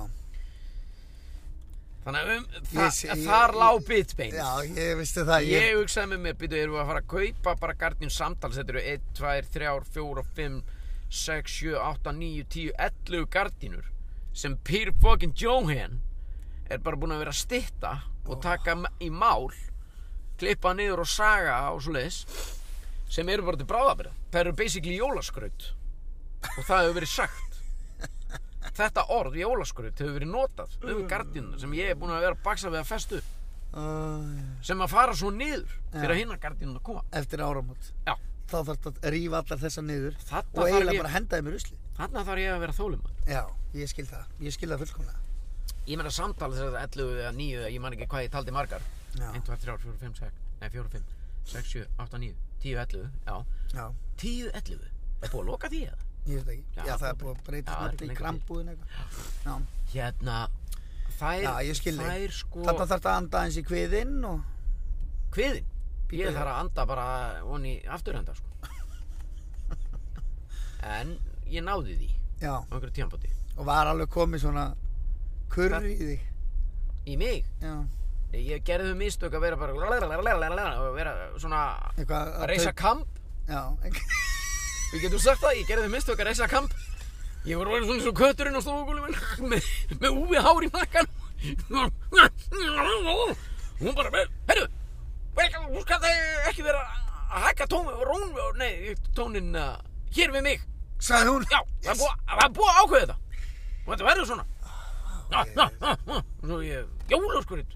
Speaker 1: Þannig að um,
Speaker 2: Ég
Speaker 1: það,
Speaker 2: sé-
Speaker 1: ég,
Speaker 2: ég-
Speaker 1: þar lá
Speaker 2: ég-
Speaker 1: bitbeins.
Speaker 2: já, ég vissi það
Speaker 1: ég... hugsaði með mér, býtu, erum við að fara að kaupa bara gardín samtals, þetta eru 1, 2, 3, 4, 5, 6, 7, 8, 9, 10, 11 gardínur sem Peter fucking Johan er bara búin að vera að stytta og taka m- í mál, klippa niður og saga og svoleiðis sem eru bara til bráðabrið. Það eru basically jólaskraut og það hefur verið sagt. Þetta orð, jólaskraut, hefur verið notað um gardínuna sem ég er búin að vera að baksa við að festu upp
Speaker 2: Æ,
Speaker 1: sem að fara svo niður fyrir að hinna gardínuna að koma
Speaker 2: eftir áramót
Speaker 1: Já.
Speaker 2: þá þarf að rífa allar þessar niður
Speaker 1: Þarna þarf
Speaker 2: og eiginlega
Speaker 1: ég-
Speaker 2: bara henda þeim í rusli
Speaker 1: Þarna þarf ég að vera þólumöður
Speaker 2: já, ég skil það, ég skil það fullkomlega
Speaker 1: Ég meina samtala þess að 11 eða 9 eða ég man ekki hvað ég taldi margar
Speaker 2: Já.
Speaker 1: 1, 2, 3, 4, 5, 6, nei 4, 5 6, 7, 8, 9, 10, 11 Já,
Speaker 2: já,
Speaker 1: 10, 11 Það er búið að loka því eða
Speaker 2: ég veit ekki, já,
Speaker 1: Já,
Speaker 2: það
Speaker 1: það
Speaker 2: er búið að
Speaker 1: Já,
Speaker 2: breyta
Speaker 1: það er
Speaker 2: snart í
Speaker 1: lengur
Speaker 2: krambúðin eitthvað já,
Speaker 1: Hérna Þær,
Speaker 2: já, ég skil þig
Speaker 1: þær sko
Speaker 2: þarna þarf að anda eins í kviðinn og
Speaker 1: Hviðin
Speaker 2: Bíddu,
Speaker 1: Ég
Speaker 2: já.
Speaker 1: þarf að anda bara onni afturhenda
Speaker 2: <laughs>
Speaker 1: sko En ég náði því á
Speaker 2: já,
Speaker 1: einhverju tímpóti
Speaker 2: og var alveg komið svona kurr í þig
Speaker 1: Í mig
Speaker 2: já,
Speaker 1: Ég gerði þau mistök að vera bara og vera svona
Speaker 2: eitthvað
Speaker 1: að reysa kamp
Speaker 2: já, eitthvað
Speaker 1: við getum sagt það, ég gerði mistök að reysa kamp ég var orðin svona eins og kötturinn á stofugúli <laughs> með, með úfi hár í nakkan hún bara með, herru velkjum, þú skal það ekki vera að hækka tónu, rón, nei tónin uh, hér við mig
Speaker 2: sagði hún
Speaker 1: já, það er búið- það er búið að ákveða þetta og þetta verður svona Ah, ah, ah, ah. og svo ég, jólaskurit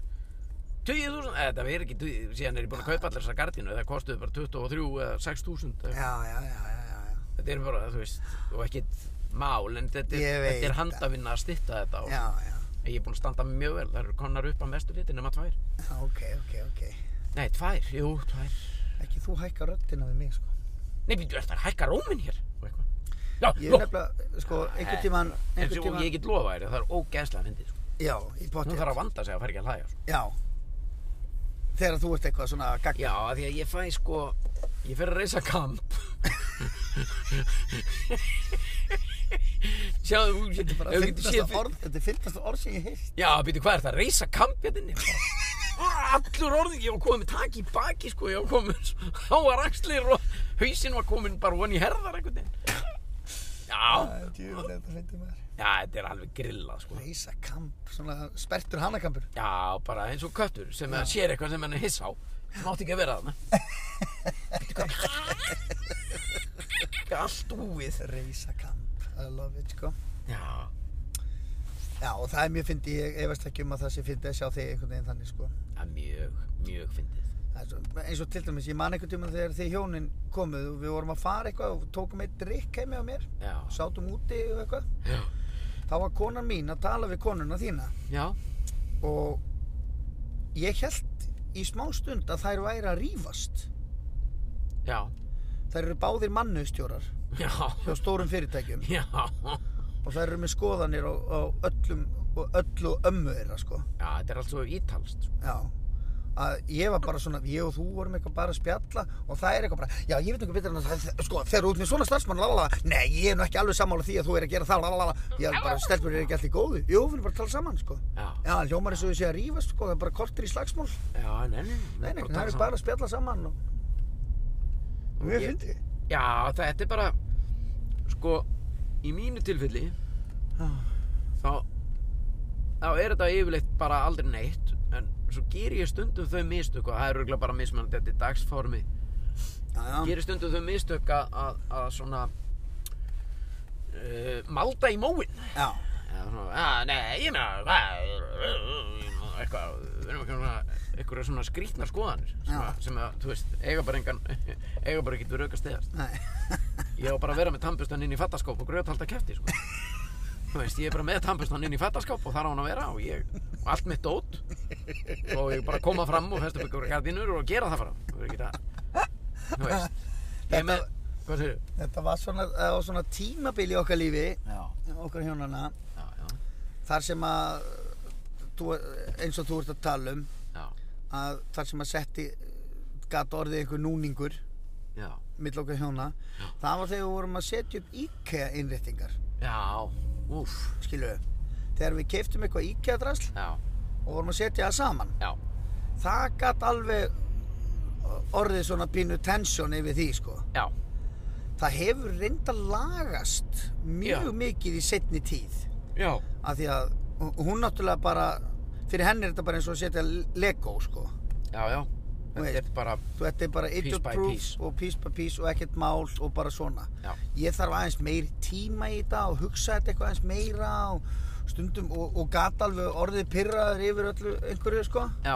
Speaker 1: 20.000, eða Eh, þetta verður ekki 20, síðan er ég búin að kaupa allar þessar gardínu það kostuði bara 23 eða 6.000 eða
Speaker 2: já, já, já, já, já, já.
Speaker 1: þetta er bara, þú veist, og ekkit mál, en þetta
Speaker 2: Ég
Speaker 1: er,
Speaker 2: veit
Speaker 1: þetta er handavinna að stytta þetta og
Speaker 2: Já, já,
Speaker 1: ég er búinn að standa mig mjög vel, það eru konar upp að mestu liti nema tvær.
Speaker 2: já, ok, ok, ok
Speaker 1: Nei, tvær, jú, tvær.
Speaker 2: ekki þú hækka röddina við mig sko
Speaker 1: Nei, býttu, er það hækka róminn hér? Og eitthvað. Já,
Speaker 2: Ég
Speaker 1: ló.
Speaker 2: er nefnilega, sko, einhvern tíman,
Speaker 1: En
Speaker 2: einhvern
Speaker 1: svo
Speaker 2: tíman,
Speaker 1: Eh, ég get lofa þér, að það er ógeðslega fyndið, sko.
Speaker 2: já, í potið.
Speaker 1: Hún þarf að vanda sig að fara ekki að hlæja, sko.
Speaker 2: Já. þegar þú ert eitthvað svona gagn
Speaker 1: Já, af því að ég fæ sko, ég fer að reysa <laughs> kamp. Sjáðu, þú getur
Speaker 2: bara
Speaker 1: ef þú getur séð
Speaker 2: fyndast
Speaker 1: fyrir-
Speaker 2: orð, þetta er fyndast orð sem ég heist
Speaker 1: Já, býtu, hvað er það? Reysa kamp hérna inni? Ah, Allur orðin, ég var komið með taki í baki, sko, ég var komið með svo háar axlir og hausinn var komin bara von í herðar einhvern veginn. Já,
Speaker 2: Reisa
Speaker 1: já, þetta er alveg grillað, sko.
Speaker 2: kamp, svona spertur hanakampur
Speaker 1: Já, bara eins og köttur sem að sér eitthvað sem hann er hiss á. Það mátti ekki að vera þarna. Býtu, hvað? Allt úið.
Speaker 2: Reisa kamp, I love it sko
Speaker 1: Já,
Speaker 2: Já og það er mjög fyndi, ég efast ekki um að það sé fyndi að sjá þig einhvern veginn þannig sko
Speaker 1: það er mjög, mjög fyndið.
Speaker 2: Það er svo- eins og til dæmis, ég man einhvern tímann þegar þið hjónin komuð og við vorum að fara eitthvað og tókum eitt drikk heimi á mér
Speaker 1: Já,
Speaker 2: sátum úti og eitthvað
Speaker 1: já,
Speaker 2: þá var konan mín að tala við konuna þína
Speaker 1: já,
Speaker 2: og ég held í smá stund að þær væri að rífast
Speaker 1: já,
Speaker 2: þær eru báðir mannustjórar hjá
Speaker 1: já,
Speaker 2: stórum fyrirtækjum
Speaker 1: já.
Speaker 2: og þær eru með skoðanir á, á öllum og öllu ömmu þeirra sko
Speaker 1: Já, þetta er allt svo ítalst. sko.
Speaker 2: já að ég var bara svona, ég og þú vorum eitthvað bara að spjalla og það er eitthvað bara, já ég veit eitthvað betur en að það, sko, þegar þú ert með svona starfsmann lalala, nei ég er nú ekki alveg sammála því að þú er að gera það lalala, ég er bara, stelpur er ekki allir góðu jú, við erum bara að tala saman, sko
Speaker 1: Já,
Speaker 2: já, hljómar eins og við sé að rífast, sko, það er bara kortir í slagsmál
Speaker 1: já, nei, nei,
Speaker 2: Nei, nei,
Speaker 1: bara
Speaker 2: það
Speaker 1: tala
Speaker 2: er
Speaker 1: saman.
Speaker 2: bara að spjalla saman og... Mjög
Speaker 1: Ég-
Speaker 2: fyndi
Speaker 1: Já, þetta er bara, sko, í mínu tilfelli, þá, þá er þetta yfirleitt bara aldrei neitt, en svo ger ég stundum þau mistök og það er örgulega bara mismunandi eftir dagsformi. Gerir stundum þau mistök að, að, að svona, uh, malda í móinn.
Speaker 2: Já,
Speaker 1: Já, svona, að, nei, ég meina, hvað, ég meina, uh, eitthvað, við erum ekki svona, einhverja svona skrítna skoðanir sem
Speaker 2: Já.
Speaker 1: að, sem að, þú veist, eiga bara engan, <laughs> eiga bara ekki verið auka steðast.
Speaker 2: nei <laughs>
Speaker 1: Ég á bara að vera með tannbustan inn í fattaskáp og grjóthalda kefti,
Speaker 2: <laughs>
Speaker 1: sko. Þú veist, ég er bara með tannbustan inn í fattaskáp og þar á hann að vera og ég, og allt mitt dót og ég bara koma fram og festa upp ykkur gardinur og gera það fram. Þú veist, ekki það, þú veist, ég er með, hvað segir þú?
Speaker 2: Þetta var svona, það var svona tímabil í okkar lífi
Speaker 1: Já,
Speaker 2: okkar hjónana
Speaker 1: já, já,
Speaker 2: þar sem að þú, eins og þú ert að tala um
Speaker 1: já,
Speaker 2: að þar sem að setti gat orðið einhver núningur
Speaker 1: já,
Speaker 2: mill okkar hjóna það var þegar við vorum að setja upp IKEA innréttingar
Speaker 1: já, úf,
Speaker 2: skilu þegar við keiftum eitthvað IKEA drasl
Speaker 1: já,
Speaker 2: og vorum að setja það saman
Speaker 1: já,
Speaker 2: það gat alveg orðið svona pínu tensjón yfir því sko.
Speaker 1: já.
Speaker 2: Það hefur reynda lagast mjög
Speaker 1: Já.
Speaker 2: mikið í setni tíð
Speaker 1: Já,
Speaker 2: af því að hún náttúrulega bara fyrir henni er þetta bara eins og að setja Lego sko.
Speaker 1: já, já Þetta er
Speaker 2: veist.
Speaker 1: bara,
Speaker 2: Þú þetta er bara idiot
Speaker 1: by
Speaker 2: proof
Speaker 1: piece.
Speaker 2: og piece by piece og ekkert mál og bara svona.
Speaker 1: já,
Speaker 2: Ég þarf aðeins meiri tíma í þetta og hugsa þetta eitthvað aðeins meira og stundum og, og gat alveg orðið pyrraður yfir öllu einhverju sko.
Speaker 1: já,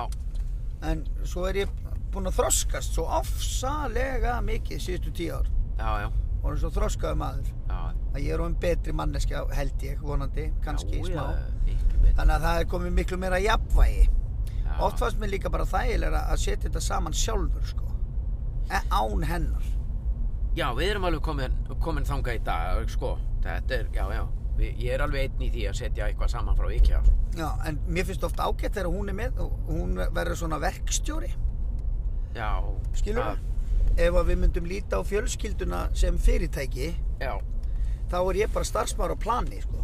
Speaker 2: en svo er ég búinn að þroskast svo ofsalega mikið síðustu tíu ár
Speaker 1: já, já,
Speaker 2: og er svo þroskaðu maður
Speaker 1: já
Speaker 2: að ég er um betri manneskja held ég vonandi, kannski
Speaker 1: já,
Speaker 2: smá
Speaker 1: já, miklu betur.
Speaker 2: þannig að það er komið miklu meira jafnvægi
Speaker 1: Já,
Speaker 2: oft fannst mér líka bara þægilega að setja þetta saman sjálfur sko E- án hennar
Speaker 1: Já, við erum alveg komin, komin þangað í dag, sko Þetta er, já, já Vi, Ég er alveg einn í því að setja eitthvað saman frá IKEA sko.
Speaker 2: Já, en mér finnst ofta ágætt þegar hún er með og hún verður svona verkstjóri
Speaker 1: Já
Speaker 2: skilur
Speaker 1: það-
Speaker 2: við ef að við myndum líta á fjölskylduna sem fyrirtæki
Speaker 1: Já,
Speaker 2: þá er ég bara starfsmaður á plani sko.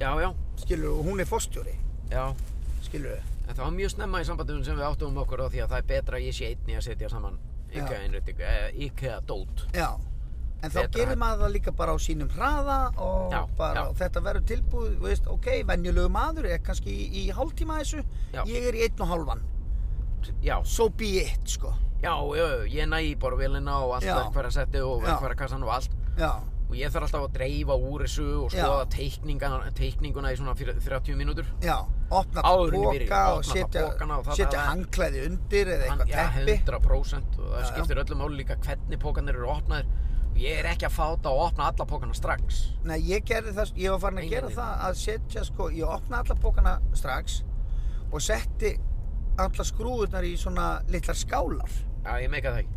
Speaker 1: já, já,
Speaker 2: skilur og hún er forstjóri
Speaker 1: já
Speaker 2: skilur við
Speaker 1: Þetta var mjög snemma í sambandum sem við áttum um okkur á því að það er betra að ég sé einn í að setja saman
Speaker 2: Já.
Speaker 1: IKEA innréttingu, eh, IKEA dót
Speaker 2: Já, en þá
Speaker 1: Betra
Speaker 2: gerir
Speaker 1: hægt.
Speaker 2: maður það líka bara á sínum hraða og
Speaker 1: Já,
Speaker 2: bara
Speaker 1: já.
Speaker 2: þetta verður tilbúið, þú veist, ok, venjulegu maður er kannski í, í hálftíma þessu,
Speaker 1: Já.
Speaker 2: ég er í einn og hálfan,
Speaker 1: Já,
Speaker 2: so be it, sko.
Speaker 1: já, já, ég næ í borvélina og allt
Speaker 2: Já.
Speaker 1: verkfæra setti og
Speaker 2: Já.
Speaker 1: verkfæra kassan og allt
Speaker 2: Já,
Speaker 1: og ég þarf alltaf að dreifa úr þessu og
Speaker 2: Já.
Speaker 1: skoða teikningana, teikninguna í svona fyrir- 30 mínútur
Speaker 2: já, opna
Speaker 1: Áður en ég byrja,
Speaker 2: boka og
Speaker 1: opna alla
Speaker 2: setja,
Speaker 1: pokana og það-
Speaker 2: setja
Speaker 1: það-
Speaker 2: hangklæði undir eða eitthvað
Speaker 1: ja,
Speaker 2: teppi.
Speaker 1: 100% og það
Speaker 2: Já, já.
Speaker 1: skiptir öllu máli líka hvernig pókarnir eru opnaðir og ég er ekki að fáta að opna alla pókarna strax
Speaker 2: Nei, ég gerði það, ég var farin að
Speaker 1: Nei,
Speaker 2: gera
Speaker 1: nei,
Speaker 2: það að setja, sko, ég opna alla bókana strax og setti alla skrúðunar í svona litlar skálar.
Speaker 1: Já, ég meika það ekki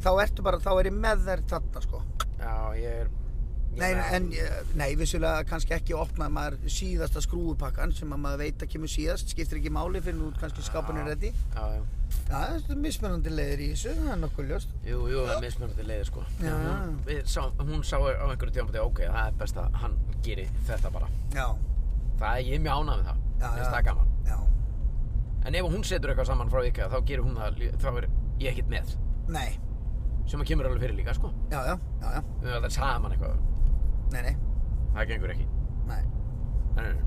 Speaker 2: Þá ertu bara, þá er ég með þær þarna, sko.
Speaker 1: Já, ég er ég
Speaker 2: Nei,
Speaker 1: meina-
Speaker 2: en, eh, nei, vissulega kannski ekki opnaði maður síðasta skrúupakkan sem að maður veit að kemur síðast, skiptir ekki máli fyrir nú kannski skápan er reddi,
Speaker 1: Já, já
Speaker 2: Já, það er mismunandi leiðir í þessu, það er nokkuð ljóst.
Speaker 1: Jú, jú, það er mismunandi leiðir sko.
Speaker 2: Já.
Speaker 1: Hún, við sá, hún sá á einhverju tímabæti, ok, það er best að hann geri þetta bara.
Speaker 2: Já,
Speaker 1: Það er, ég er mjög ánað við það. Mér
Speaker 2: Já,
Speaker 1: finnst
Speaker 2: já.
Speaker 1: það gaman.
Speaker 2: já.
Speaker 1: En ef hún setur eitthvað saman frá ykkar, þá gerir hún það, lí- þá er ég ekkert með.
Speaker 2: Nei,
Speaker 1: Sem að kemur alveg fyrir líka, sko.
Speaker 2: já, já, já, já.
Speaker 1: Við höfum alltaf saman eitthvað.
Speaker 2: Nei, nei,
Speaker 1: Það gengur ekki.
Speaker 2: nei.
Speaker 1: Nei, nei, nei.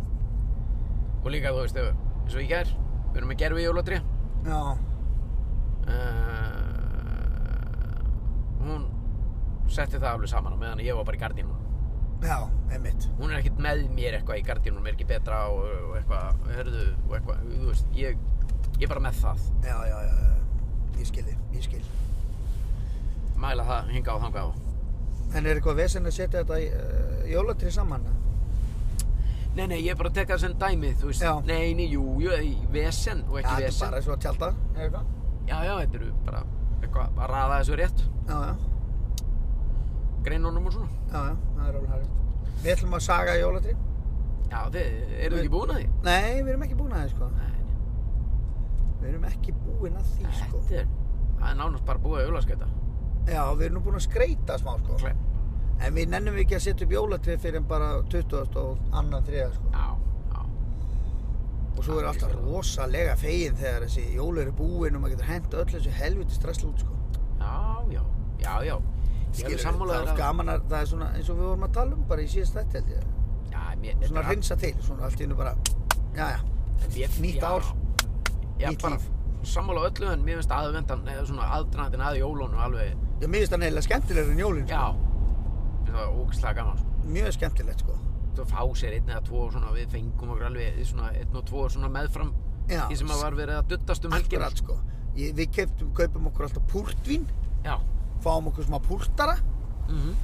Speaker 1: Og líka, þú veist, ef, eins og í gær, við erum með gerfi í jólatri.
Speaker 2: Já,
Speaker 1: Uh, Eh, hún setti það alveg saman á meðan ég var bara í gardínunum.
Speaker 2: já, einmitt.
Speaker 1: hún er ekkert með mér eitthvað í gardínunum er ekki betra og, og eitthvað, hörðu, og eitthvað, þú veist, ég, ég er bara með það,
Speaker 2: Já, já, já, já. Ég skil þig, ég skil.
Speaker 1: mæla það, hinga á þanga á.
Speaker 2: En er eitthvað vesen að setja þetta í, uh, jólatri saman?
Speaker 1: Nei, nei, ég er bara að teka það sem dæmið, þú veist,
Speaker 2: Já.
Speaker 1: nei, nei, jú, jú, ei, vesen og
Speaker 2: Já,
Speaker 1: ekki
Speaker 2: þetta er
Speaker 1: vesen.
Speaker 2: bara svo að tjálta. Er eitthvað?
Speaker 1: Já, já, þetta eru bara eitthvað, að raða þessu rétt,
Speaker 2: Já, já,
Speaker 1: greinunum og svona.
Speaker 2: já, já, það er alveg hægt. Við ætlum að saga jólatri.
Speaker 1: Já, þið, eru þið ekki búin að því?
Speaker 2: Nei, við erum ekki búin að því, sko.
Speaker 1: Nei, nei,
Speaker 2: Við erum ekki búin að því, sko.
Speaker 1: þetta er, það er nánast bara búið að jólaskeita.
Speaker 2: Já, við erum nú búin að skreita smá, sko.
Speaker 1: Kle-
Speaker 2: En við nennum ekki að setja upp jólatrið fyrir en bara 20. og annan þriða, sko.
Speaker 1: Já, já,
Speaker 2: Og svo er alltaf rosalega fegin þegar þessi jól eru búin og maður getur hent öll þessu helviti stressl út, sko.
Speaker 1: já, já, já, já. Ég er alveg
Speaker 2: Skilurðu?
Speaker 1: sammálaður
Speaker 2: það er gaman að, það er svona eins og við vorum að tala um bara í síðast þetta held ég.
Speaker 1: Já, mér, þetta
Speaker 2: Svona
Speaker 1: er-
Speaker 2: að hreinsa til, svona allt í hennu bara, já, já,
Speaker 1: Ég,
Speaker 2: Nýtt
Speaker 1: já,
Speaker 2: ár,
Speaker 1: já,
Speaker 2: nýtt
Speaker 1: bara
Speaker 2: líf.
Speaker 1: Sammála öllu en mér finnst aðvendan eða svona aðdranatin að jólunum alveg
Speaker 2: ég miðist það neila skemmtilegur en jólinn, sko.
Speaker 1: Já Það var ógislega gaman sko.
Speaker 2: mjög skemmtilegt, sko.
Speaker 1: Þú fá sér einn eða tvo svona við fengum okkur alveg svona einn og tvo svona meðfram
Speaker 2: Já,
Speaker 1: Því sem að var verið að duttast um helgina
Speaker 2: akkurat, sko. Ég, við keftum, kaupum okkur alltaf púrtvín,
Speaker 1: Já
Speaker 2: fáum okkur smá púrtara,
Speaker 1: mm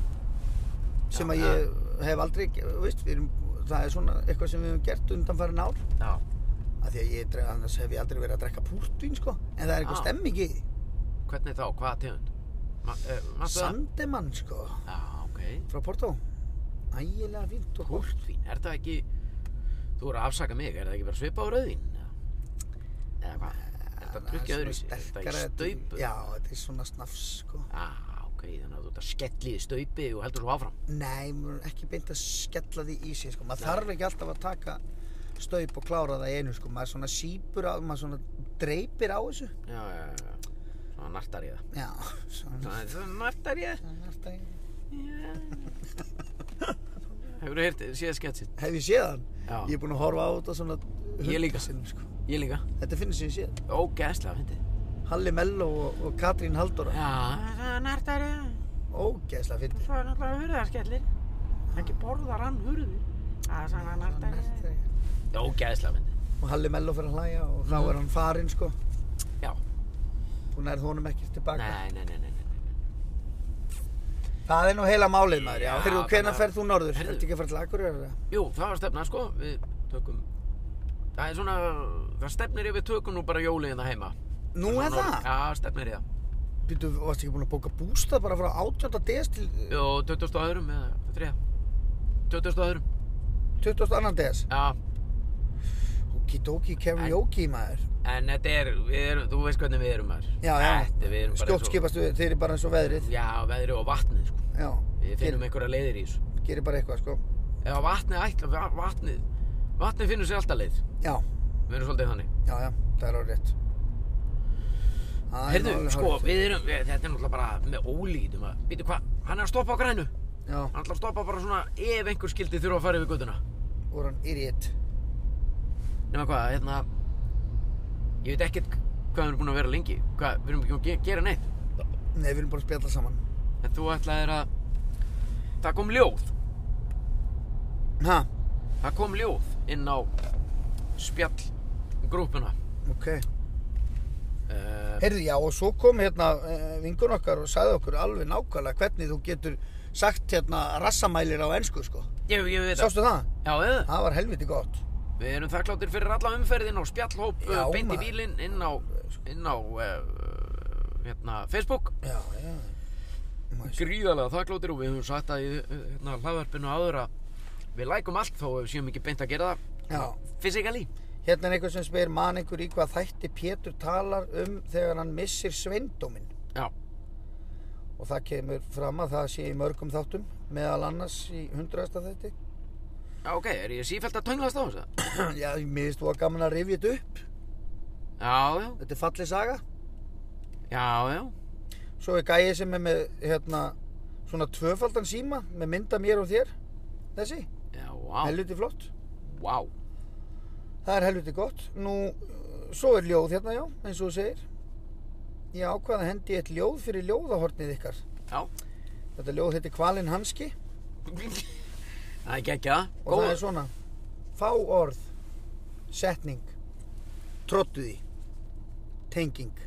Speaker 2: sem
Speaker 1: Já,
Speaker 2: að ég hef aldrei, þú veist, við erum, það er svona eitthvað sem við hefum gert undanfærin ár,
Speaker 1: Já
Speaker 2: af því að ég, dre- annars hef ég aldrei verið að drekka púrtvín, sko, en það er eitthvað
Speaker 1: Já.
Speaker 2: stemming í því,
Speaker 1: Hvernig þá? Hvaða tegund? Ma, eh, manstu það?
Speaker 2: Sandemann, sko,
Speaker 1: Já, ok
Speaker 2: frá Porto, ægilega fínt og gott.
Speaker 1: Púrtvín, er það ekki Þú eru að afsaka mig, er það ekki bara svipa á rauðin? Eða hvað? Er þetta
Speaker 2: Ah, Það
Speaker 1: drukkið öðru?
Speaker 2: svona
Speaker 1: Er
Speaker 2: sterkara,
Speaker 1: þetta í
Speaker 2: þetta er-
Speaker 1: staupu?
Speaker 2: Já, þetta er svona snafs, sko.
Speaker 1: Ah, ok, þannig að þú ert að skelli í staupi og heldur svo áfram.
Speaker 2: Nei, maður er ekki beint að skella því í sig, sko. Maður
Speaker 1: Nei.
Speaker 2: þarf ekki alltaf að taka staup og klára það í einu, sko. Maður svona sípur á, maður svona dreipir á þessu.
Speaker 1: Já, já, já. Svona nartar
Speaker 2: <laughs>
Speaker 1: ég það.
Speaker 2: Já, svona.
Speaker 1: Svona- Svona nartar ég það.
Speaker 2: Svona er þetta í-
Speaker 1: Já. Hefur þú heyrt síðan sketsið?
Speaker 2: Hef ég séð hann?
Speaker 1: Já.
Speaker 2: Ég er búinn að horfa á þetta svona
Speaker 1: Ég líka.
Speaker 2: sinnum, sko.
Speaker 1: Ég líka.
Speaker 2: Þetta finnir sem ég séð.
Speaker 1: Ógeðslega, fyndið.
Speaker 2: Halli Mello og, og Katrín Halldóra.
Speaker 1: Já, svona nartar ég það.
Speaker 2: Ógeðslega fyndið.
Speaker 1: Svo er náttúrulega hurðarskellir. Ekki borðar hann hurður. Það er svona nartar ég það. Ógeðslega, fyndið.
Speaker 2: Og Halli Mello fyrir að hlæja og þá
Speaker 1: Mhm.
Speaker 2: er hann farinn, sko.
Speaker 1: Já.
Speaker 2: Þú nærð honum ekkert tilbaka.
Speaker 1: Nei, nei, nei, nei, nei. nei.
Speaker 2: Það er nú heila málið maður, já.
Speaker 1: Já,
Speaker 2: Heyrðu,
Speaker 1: þannig
Speaker 2: hvenær
Speaker 1: að-
Speaker 2: ferð þú norður?
Speaker 1: Heyrðu.
Speaker 2: Þetta ekki að fara til Akureyrar? eða?
Speaker 1: Jú, það var stefna, sko. Við tökum... Það er svona... Það stefnir yfir tökum nú bara jólið hérna heima.
Speaker 2: Nú er
Speaker 1: Svona-
Speaker 2: það?
Speaker 1: Já, stefnir í það.
Speaker 2: Býtu, varstu ekki búin að bóka bústað bara frá 18. des til
Speaker 1: Jó, 20. öðrum eða 3. 20. öðrum,
Speaker 2: 22. des?
Speaker 1: já.
Speaker 2: Okidoki, karaoke maður.
Speaker 1: En þetta er, við erum, þú veist hvernig við erum maður.
Speaker 2: Já, já.
Speaker 1: Þetta, við erum bara
Speaker 2: Skjótt skipast við, þeir eru bara eins og veðrið.
Speaker 1: Já, veðri og vatnið, sko.
Speaker 2: Já,
Speaker 1: Við finnum
Speaker 2: gerir,
Speaker 1: einhverja leiðir í þessu.
Speaker 2: gerir bara eitthvað, sko.
Speaker 1: Já, vatnið ætla, va- vatnið, vatnið finnur sér alltaf leið.
Speaker 2: Já,
Speaker 1: Við erum svolítið þannig.
Speaker 2: já, já, það er árið rétt. Það er
Speaker 1: Heyrðu,
Speaker 2: nú alveg
Speaker 1: sko,
Speaker 2: hárrétt.
Speaker 1: við erum, við, þetta er náttúrulega bara með ólítum að, býtu hvað, hann er að stoppa á grænu.
Speaker 2: Já,
Speaker 1: Hann ætlar að stoppa bara svona ef einhver skildi þurfa að fara yfir göttuna.
Speaker 2: voru hann idiot.
Speaker 1: Nefna hvað, hérna, ég veit ekkert hvað við erum búin að vera lengi. Hvað, við erum ekki að ge- gera neitt.
Speaker 2: Nei, við erum bara að spjalla saman.
Speaker 1: En þú ætlaðir að... Það kom ljóð.
Speaker 2: Ha,
Speaker 1: Það kom ljóð inn á spjall grúpuna.
Speaker 2: ok.
Speaker 1: Uh,
Speaker 2: Heyrðu, já, og svo kom hérna vingun okkar og sagði okkur alveg nákvæmlega hvernig þú getur sagt hérna rassamælir á ensku, sko.
Speaker 1: ég, ég veit það.
Speaker 2: Sástu það?
Speaker 1: Já, eða.
Speaker 2: Það var helviti gott.
Speaker 1: Við erum þakkláttir fyrir alla umferðin á spjallhóp
Speaker 2: Já,
Speaker 1: uh, beint í
Speaker 2: maður.
Speaker 1: bílinn inn á, inn á uh, hérna, Facebook.
Speaker 2: Já, já. Maður sé-
Speaker 1: Gríðarlega þakkláttir og við höfum sagt að í uh, hérna, hlaðvarpinu áður að við lækum allt þó að við séum ekki beint að gera það.
Speaker 2: Já,
Speaker 1: Fysikali.
Speaker 2: Hérna er einhver sem spyr man einhver í hvað þætti Pétur talar um þegar hann missir sveindóminn
Speaker 1: Já,
Speaker 2: og það kemur fram að það sé í mörgum þáttum meðal annars í hundraðasta þætti <clears throat>
Speaker 1: já ok, er ég sífælt að tönglast á þess að?
Speaker 2: Já, mér finnst þú að gaman að rifja þetta upp
Speaker 1: Já, já,
Speaker 2: Þetta er fallið saga
Speaker 1: já, já,
Speaker 2: Svo er gæið sem er með hérna svona tvöfaldan síma með mynda mér og þér þessi,
Speaker 1: já, vá,
Speaker 2: helviti flott
Speaker 1: vá,
Speaker 2: Það er helviti gott. Nú, uh, svo er ljóð hérna, já, eins og þú segir. Ég ákvað að hendi eitt ljóð fyrir ljóðahornið ykkar.
Speaker 1: já.
Speaker 2: Þetta ljóð heitir Kvalinn Hanski
Speaker 1: Það er gekkja,
Speaker 2: og það er
Speaker 1: góð,
Speaker 2: svona. Fá orð, setning, trottuði, tenging,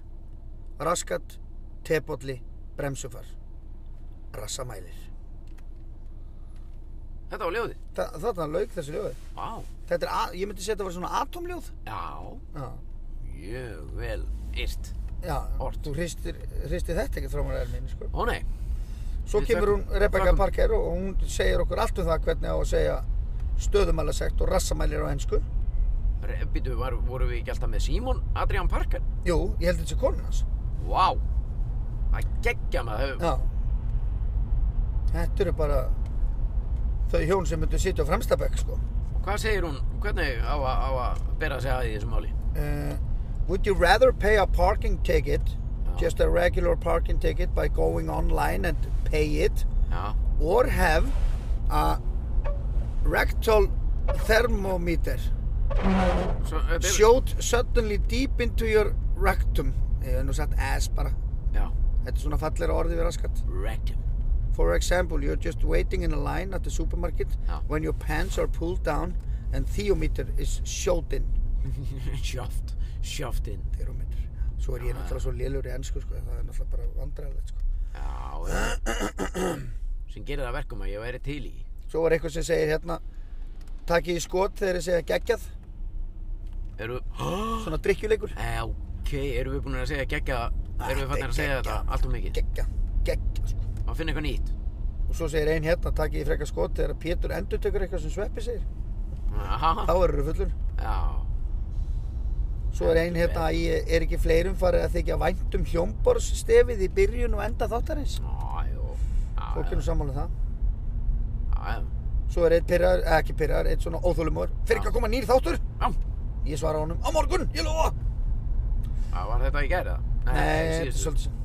Speaker 2: raskat, tepolli, bremsufar, rassamælir.
Speaker 1: þetta var ljóðið.
Speaker 2: Þa, þarna lauk þessu ljóði.
Speaker 1: Vá,
Speaker 2: Þetta er, a- ég myndi setja að vera svona atomljóð.
Speaker 1: já,
Speaker 2: Já,
Speaker 1: mjög vel yrt.
Speaker 2: já,
Speaker 1: Ort.
Speaker 2: þú hristir, hristir þetta ekkert frá mér er minni, sko.
Speaker 1: Ó nei,
Speaker 2: Svo
Speaker 1: Við
Speaker 2: kemur hún
Speaker 1: þökkum-
Speaker 2: Rebecca
Speaker 1: þökkum.
Speaker 2: Parker og hún segir okkur allt um það hvernig á að segja stöðumælasekt og rassamælir á ennsku.
Speaker 1: býtu, voru við ekki alltaf með Simon Adrian Parker?
Speaker 2: Jú, ég held þetta sé konun hans.
Speaker 1: Vá, það gekkja maður,
Speaker 2: Já. Þetta eru bara þau hjón sem myndu sitja á fremstabæk, sko.
Speaker 1: Hvað segir hún, hvernig á að, á að bera sig að í þessu máli?
Speaker 2: Uh, would you rather pay a parking ticket,
Speaker 1: Já.
Speaker 2: just a regular parking ticket by going online and pay it,
Speaker 1: Já,
Speaker 2: or have a rectal thermometer?
Speaker 1: svo, uh, David-
Speaker 2: Showed suddenly deep into your rectum Ég hef nú sagt ass bara
Speaker 1: Já,
Speaker 2: Þetta er svona fallera orði við raskat
Speaker 1: <laughs> rectum
Speaker 2: For example, you're just waiting in a line at the supermarket
Speaker 1: Já.
Speaker 2: When your pants are pulled down And theometer is showed in
Speaker 1: Sjöft, sjöftinn
Speaker 2: Theometer Svo er ég náttúrulega svo lélur í ennsku sko Það er náttúrulega bara vandræðilegt sko
Speaker 1: Já, já <clears throat> Sem gerir það að verkum að ég væri til í
Speaker 2: Svo var eitthvað sem segir hérna Takk ég í skot þegar ég segja geggjað
Speaker 1: Eru
Speaker 2: Svona drikkjuleikur
Speaker 1: Já, ok, eru við búin að segja geggja Eru við fannir að segja
Speaker 2: Ah, Geggjað,
Speaker 1: þetta allt og mikið
Speaker 2: Geggjað, geggjað sko
Speaker 1: Má finna eitthvað nýtt
Speaker 2: Og svo segir ein hérna Takk ég í frekka skot þegar Pétur endur tekur eitthvað sem sveppi segir Þá
Speaker 1: Já,
Speaker 2: verður fullur
Speaker 1: já
Speaker 2: Svo er einn hérna að ég er ekki fleirum farið að þykja vænt um hljómborðsstefið í byrjun og enda þáttarins.
Speaker 1: Já, jú Já,
Speaker 2: Fólk er nú
Speaker 1: já,
Speaker 2: sammála um það.
Speaker 1: já, já.
Speaker 2: Svo er einn pyrrar, eða ekki pyrrar, einn svona óþólumor. Fyrir ekki að koma nýr þáttur?
Speaker 1: Já,
Speaker 2: Ég svara honum, á morgun, ég lofa!
Speaker 1: já, var þetta í gerða?
Speaker 2: Nei, þetta er svolítið sem.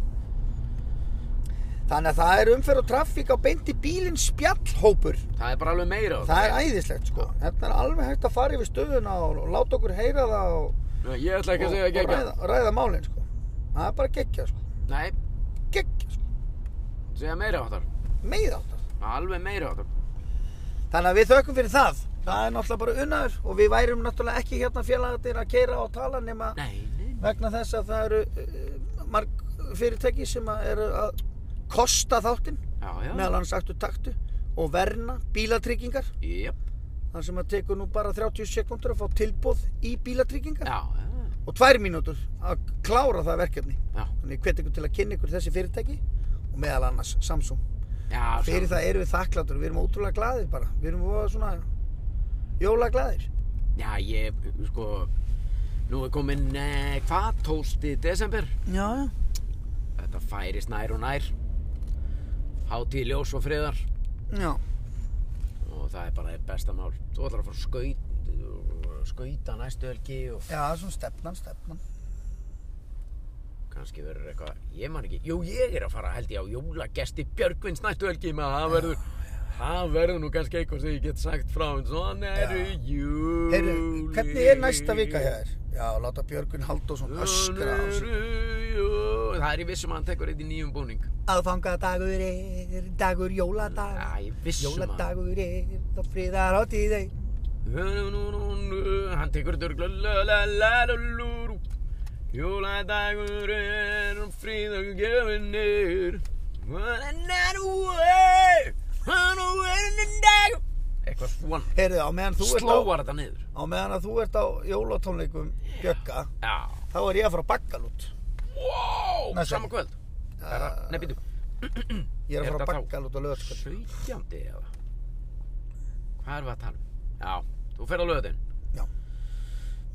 Speaker 2: Þannig að það er umferð og traffík á beint í bílinn spjallhópur.
Speaker 1: Það er bara alveg meira á
Speaker 2: Það er æðislegt sko. Þetta er alveg hægt að fara yfir stöðuna og og láta okkur heyra það og,
Speaker 1: Nei, Ég ætla
Speaker 2: og,
Speaker 1: ekki að segja
Speaker 2: og
Speaker 1: geggja
Speaker 2: ræða, ræða málinn sko. Það er bara geggja sko.
Speaker 1: Nei,
Speaker 2: Geggja sko.
Speaker 1: segja meira áttar
Speaker 2: Meira áttar.
Speaker 1: Alveg meira áttar
Speaker 2: Þannig að við þökkum fyrir það. Það er náttúrulega bara unnaður og við værum náttúrulega ekki hérna félagarnir að keira og tala nema
Speaker 1: Nei, nei,
Speaker 2: vegna þess að það eru uh, marg fyrirtæki sem að eru að kosta þáttinn,
Speaker 1: já, já
Speaker 2: meðal annars aktu taktu og verna bílatryggingar,
Speaker 1: Jöp,
Speaker 2: þar sem að tekur nú bara 30 sekúndur að fá tilbóð í bílatryggingar
Speaker 1: já, já,
Speaker 2: og tvær mínútur að klára það verkefni.
Speaker 1: já,
Speaker 2: Þannig hvet ykkur til að kynna ykkur þessi fyrirtæki og meðal annars Samsung.
Speaker 1: já
Speaker 2: Fyrir
Speaker 1: sjá.
Speaker 2: það erum við þakklátur, við erum ótrúlega glaðir bara, við erum voða svona jólaglaðir.
Speaker 1: Já, ég, sko Nú er komin, eh, hvað, 12. desember
Speaker 2: Já, já.
Speaker 1: Þetta færist nær og nær Hátíð ljós og friðar
Speaker 2: Já,
Speaker 1: Og það er bara eitt besta mál Þú ætlar að fara að skaut skauta næstu helgi og
Speaker 2: já, það er svona stefnan, stefnan.
Speaker 1: kannski verður eitthvað, ég man ekki Jú, ég er að fara held ég á jólagesti Björgvins næstu helgi, maður það verður það verður nú kannski eitthvað sem ég get sagt frá en svona eru júli
Speaker 2: Heyrðu, hvernig er næsta vika hjá þér? Já, láta Björgun Halldórsson öskra á sig.
Speaker 1: Það er í vissum að hann tekur eitt í nýjum búning
Speaker 2: Aðfangadagur er, dagur jóladag.
Speaker 1: Já, ég viss um að-
Speaker 2: Jóladagur er, þá friðar á tíðau.
Speaker 1: Hann tekur dörgla Jóladagur er og fríðagur gefinir Eitthvað svona
Speaker 2: Heyrðu, á meðan þú ert á,
Speaker 1: Slóar þetta niður
Speaker 2: á meðan að þú ert á jólatónleikum Bjögga,
Speaker 1: Já
Speaker 2: þá er ég að fara að bakka lút.
Speaker 1: Wow,
Speaker 2: Næsta.
Speaker 1: sama kvöld uh, Nei, býtu
Speaker 2: Ég er
Speaker 1: Er
Speaker 2: að fara að
Speaker 1: þetta þá-
Speaker 2: bakka lút á löðarskvöld.
Speaker 1: 17. eða Hvað erum við að tala um? Já, þú fer á löðin
Speaker 2: Já.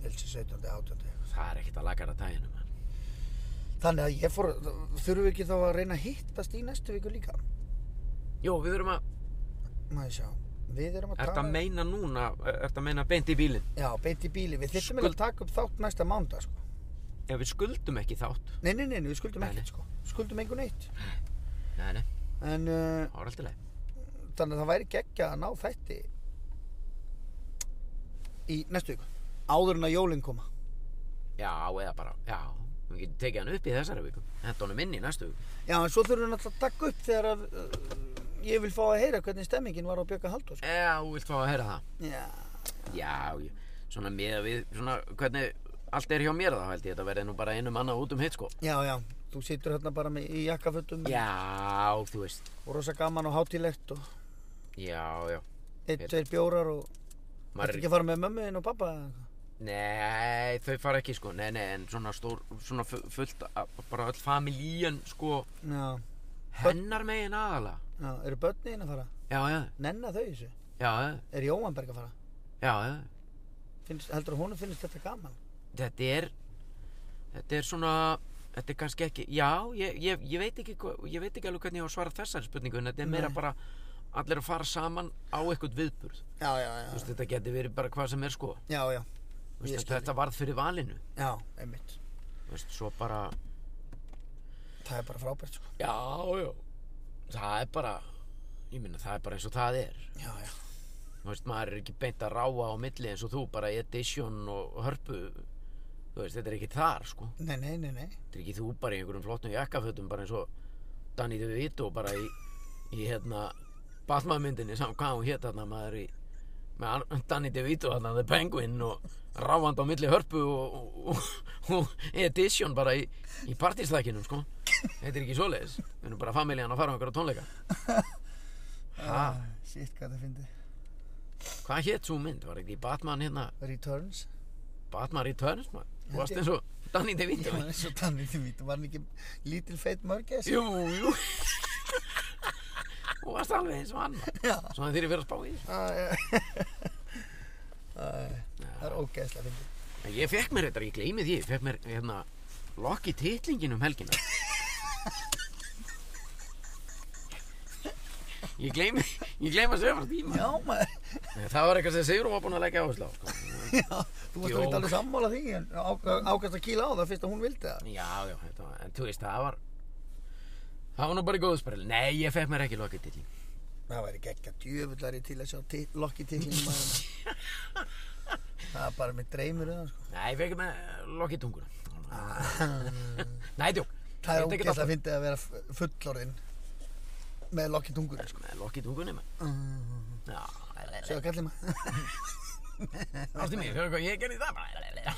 Speaker 2: held sér 17. 18.
Speaker 1: Það er ekkert að lagara daginu, mann.
Speaker 2: Þannig að ég fór, þurfum við ekki þá að reyna að hittast í næstu viku líka?
Speaker 1: Jó, við erum að,
Speaker 2: Má ég sjá, við erum að
Speaker 1: ert að meina núna, ert að meina beint í bílinn.
Speaker 2: Já, beint í bíli, við þyrfum
Speaker 1: Skuld-
Speaker 2: eiginlega að taka upp þátt næsta mánda, sko.
Speaker 1: Já, við skuldum ekki þátt.
Speaker 2: Nei, nei, nei, nei, við skuldum
Speaker 1: Nei, nei.
Speaker 2: ekkert, sko. Skuldum engu neitt.
Speaker 1: Nei, nei,
Speaker 2: En, uh,
Speaker 1: það var alltaf leið.
Speaker 2: þannig að það væri geggja að ná þætti í næstu viku. Áður en að jólinn koma.
Speaker 1: Já, eða bara, já, við getum tekið hann upp í þessari viku. Hent honum inn í næstu viku.
Speaker 2: Já, en svo þurfum við náttúrulega að taka upp þegar að, uh, ég vil fá að heyra hvernig stemmingin var á Björka Halldór, sko.
Speaker 1: Já, þú vilt fá að heyra það.
Speaker 2: Já,
Speaker 1: Já, ég- svona með að við, svona hvernig allt er hjá mér þá held ég þetta verði nú bara einum annað út um hitt sko.
Speaker 2: já, já. Þú situr hérna bara með, í jakkafötum
Speaker 1: Já, þú veist,
Speaker 2: og rosa gaman og hátilegt og
Speaker 1: já, já.
Speaker 2: eitt, tveir bjórar og Þetta
Speaker 1: Maður,
Speaker 2: ekki að fara með mömmu þinn og pappa
Speaker 1: nei, þau fara ekki sko, nei, nei, en svona stór, svona fu- fullt, af- bara öll familían sko,
Speaker 2: Já,
Speaker 1: hennar megin aðalega.
Speaker 2: já, eru börnin að fara?
Speaker 1: Já, já,
Speaker 2: Nenna þau þessu?
Speaker 1: já,
Speaker 2: Er Jóhanberg að fara?
Speaker 1: já, já,
Speaker 2: Finnst, heldur að honum finnst þetta gaman?
Speaker 1: þetta er, þetta er svona, þetta er kannski ekki, já, ég, ég, ég veit ekki, hva- ég veit ekki alveg hvernig ég á að svara þessari spurningu, en þetta er meira
Speaker 2: Nei.
Speaker 1: bara allir að fara saman á eitthvað viðburð.
Speaker 2: Já, já,
Speaker 1: Þú veist,
Speaker 2: já,
Speaker 1: þetta geti verið bara hvað sem er sko Þú
Speaker 2: já, já,
Speaker 1: veist,
Speaker 2: Ég
Speaker 1: þetta,
Speaker 2: skil.
Speaker 1: þetta varð fyrir valinu
Speaker 2: já, einmitt.
Speaker 1: Þú veist, svo bara
Speaker 2: Það er bara frábært sko.
Speaker 1: já, já það er bara, ég minna, það er bara eins og það er
Speaker 2: Já, já.
Speaker 1: Þú veist, maður er ekki beint að ráa á milli eins og þú bara í edition og hörpu þú veist, þetta er ekki þar sko
Speaker 2: Nei, nei, nei, nei.
Speaker 1: þetta er ekki þú bara í einhverjum flottum jakkafötum bara eins og Danny DeVito bara í, í hérna Batman myndinni, saman hvað hún hétt þarna maður í með Ar- Danny DeVito þarna The Penguin og ráfandi á milli hörpu og, og, og, og edition bara í, í partistækinum sko þetta er ekki svoleiðis, við erum bara familjan að fara á einhverja tónleika ha,
Speaker 2: Sitt Ah, hvað það fyndi.
Speaker 1: hvað hétt svo mynd, var ekki Batman hérna <laughs>
Speaker 2: Returns.
Speaker 1: Batman Returns maður, þú varst eins og Danny DeVito
Speaker 2: var eins og tannir til vítum. Var hann ekki lítil feit mörgæs?
Speaker 1: Jú, jú <laughs> Þú varst alveg eins og hann
Speaker 2: Já.
Speaker 1: Svo þeir eru verið að spá í
Speaker 2: Æ, Æ, það er ógeðslega fyndi.
Speaker 1: þessu Ég fekk mér þetta, ég gleymi því Ég fekk mér hérna Lokki titlingin um helgina Ég gleymi Ég gleymi að segja frá tíma
Speaker 2: Já, maður.
Speaker 1: Það var eitthvað sem Sigrun var búin að leggja áherslu á sko.
Speaker 2: Já, þú varst
Speaker 1: Jó.
Speaker 2: ekki alveg sammála því en á- ákast að kýla á það fyrst að hún vildi það.
Speaker 1: Já, já, þetta var En þú veist, það var Það var nú bara í góðu spyril Nei, ég fekk mér ekki lokki titling
Speaker 2: Það væri geggja djöfullari til að sjá tit- lokki titlingum að hérna.
Speaker 1: <laughs>
Speaker 2: Það er bara með dreymur um það sko.
Speaker 1: Nei, ég fekk mér lokki tunguna <laughs> Nei, djók
Speaker 2: Ah.
Speaker 1: Ah.
Speaker 2: Það er
Speaker 1: Þetta getur
Speaker 2: ógeðslega fyndið að vera f- fullorðinn með lokki tungur sko.
Speaker 1: alltaf- Lokki tungunni maður. Já,
Speaker 2: Sjá kallið <laughs> maður.
Speaker 1: Ástu mín, sjáðu hvað ég gerði það bara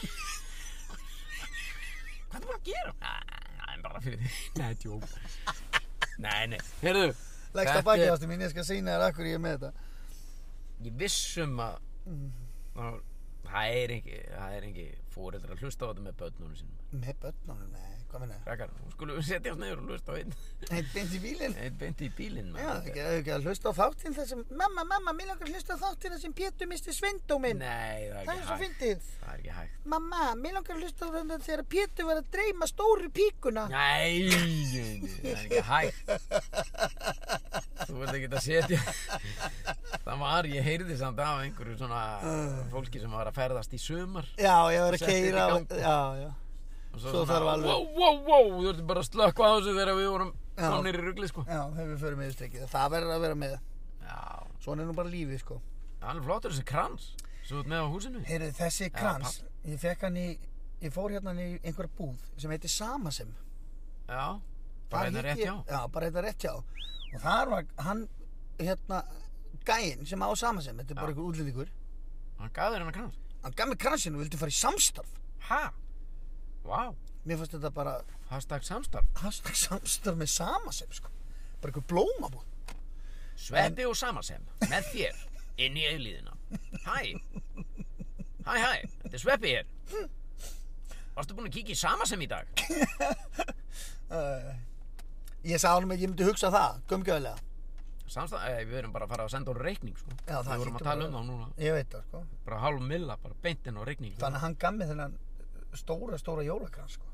Speaker 1: Hvað er bara að gera? Nei, bara fyrir því Nei, tjók Nei, nei Heyrðu
Speaker 2: Leggst
Speaker 1: þetta
Speaker 2: á baki
Speaker 1: er-
Speaker 2: ástu mín, ég skal sína þér akkur ég er með þetta.
Speaker 1: Ég vissum að
Speaker 2: Mm.
Speaker 1: að Það er ekki, það er ekki fóreldra að hlusta á þetta með börnunum sínum
Speaker 2: Með börnunum, nei, hvað minna?
Speaker 1: Krakkar, nú skulum við setja oss neyður og hlusta á einn
Speaker 2: Eitt beint í bílinn.
Speaker 1: Einn beint í bílinn
Speaker 2: Já,
Speaker 1: maður.
Speaker 2: ekki, ekki að hlusta á þáttinn þessum, mamma, mamma, mér langar að hlusta á þáttinn þessum Pétur misti svindóminn.
Speaker 1: Nei, það er
Speaker 2: Það er
Speaker 1: ekki
Speaker 2: svo
Speaker 1: hægt
Speaker 2: fyndið.
Speaker 1: Það er ekki hægt
Speaker 2: Mamma, mér langar að hlusta á þetta þegar Pétur var að dreyma stóru píkuna.
Speaker 1: Nei, nei, nei, það er ekki hægt Þú verður ekki að setja Það var, ég heyrði samt af einhverju svona fólki sem var að ferðast í sumar
Speaker 2: Já, ég var að
Speaker 1: Setti þetta í
Speaker 2: keira.
Speaker 1: gang.
Speaker 2: Já, já.
Speaker 1: og
Speaker 2: Svo þarf alveg-
Speaker 1: Wow, wow, wow, þú ertu bara að slökka á þessu þegar við vorum
Speaker 2: Já.
Speaker 1: komnir í rugli sko
Speaker 2: Já, þegar við förum yfir strekkið. Það verður að vera með.
Speaker 1: Já,
Speaker 2: Svona er nú bara lífið, sko.
Speaker 1: hann er flottur þessi krans Svo þú ert með á húsinu
Speaker 2: Heyrðu, þessi krans, ég fekk hann í, ég fór hérna í einhverja búð sem heitir Samasem.
Speaker 1: Já, bara
Speaker 2: Þar
Speaker 1: hérna
Speaker 2: hitti
Speaker 1: rétt
Speaker 2: ég-
Speaker 1: hjá
Speaker 2: Já, bara hérna rétt hjá. Og þar var hann, hérna, gæinn sem á Samasem, þetta er bara
Speaker 1: Já.
Speaker 2: einhver útlendingur.
Speaker 1: Hann gaf þér hennar krans
Speaker 2: Hann gaf mér kransinn og vildi fara í samstarf.
Speaker 1: Ha? Vá,
Speaker 2: Mér fannst þetta bara,
Speaker 1: hashtag samstarf
Speaker 2: hashtag samstarf með Samasem, sko. Bara einhver blómabúð.
Speaker 1: Sveppi og Samasem með þér inn í eilíðina. Hæ, hæ, hæ, þetta er Sveppi hér. Varstu búinn að kíkja í Samasem í dag?
Speaker 2: Eh, Ég sagði honum að ég myndi hugsa það, gömgjöðlega.
Speaker 1: Samstæð, eh, við erum bara að fara að senda hún reikning sko.
Speaker 2: Já, það
Speaker 1: Við vorum
Speaker 2: hlýtur
Speaker 1: að tala
Speaker 2: bara-
Speaker 1: um það núna
Speaker 2: Ég veit það, sko.
Speaker 1: Bara hálf milla, bara beint inn á reikning sko.
Speaker 2: Þannig að hann gaf mér þennan stóra, stóra jólakrans, sko.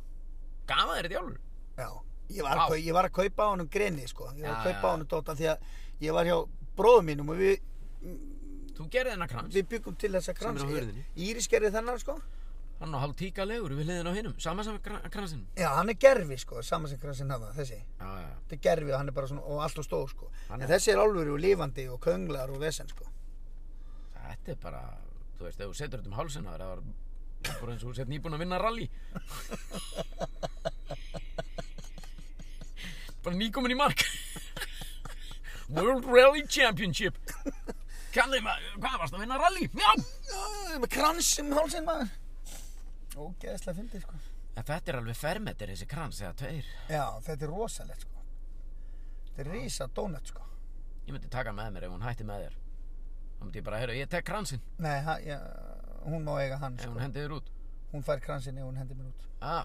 Speaker 1: Gafa þér þetta jálfur?
Speaker 2: Já. Ég var, að,
Speaker 1: Vá.
Speaker 2: kau- ég var að kaupa á honum greni, sko. Ég var að
Speaker 1: Já,
Speaker 2: kaupa á
Speaker 1: já.
Speaker 2: honum dóta því að ég var hjá bróðum mínum og við,
Speaker 1: Þú gerði hennar krans
Speaker 2: við byggum til þessa
Speaker 1: Sem er á
Speaker 2: krans.
Speaker 1: hurðinni.
Speaker 2: Íris gerði þennan, sko.
Speaker 1: Hann á hálf tíka legur við hliðin á hinum Sama sem kransin
Speaker 2: Já, hann er gerfi, sko, saman sem kransinn hafa, þessi.
Speaker 1: Já, já, já.
Speaker 2: Þetta er gerfi og hann er bara svona, og allt og stór, sko.
Speaker 1: Hann
Speaker 2: En
Speaker 1: er-
Speaker 2: þessi er alvöru og lifandi og könglar og vesen, sko.
Speaker 1: þetta er bara Þú veist, ef þú setur þetta um hálsinn á þér, Það var bara eins og þú sett nýbúin að vinna rally Bara nýkomin í mark World Rally Championship Kallið maður, hvað varst að vinna rally? Já!
Speaker 2: Já, með krans um hálsinn, maður. Ógeðslega fyndið, sko.
Speaker 1: En þetta er alveg fermetir þessi krans eða tveir
Speaker 2: Já, þetta er rosalegt, sko. Þetta er rísa donut, sko.
Speaker 1: Ég myndi taka með mér ef hún hætti með þér Þá myndi ég bara, heyrðu, ég tek kransinn
Speaker 2: Nei, ha, ja, hún má eiga hann,
Speaker 1: Ef
Speaker 2: sko.
Speaker 1: hún hendi þér út
Speaker 2: Hún fær kransinn ef hún hendir mér út.
Speaker 1: ah.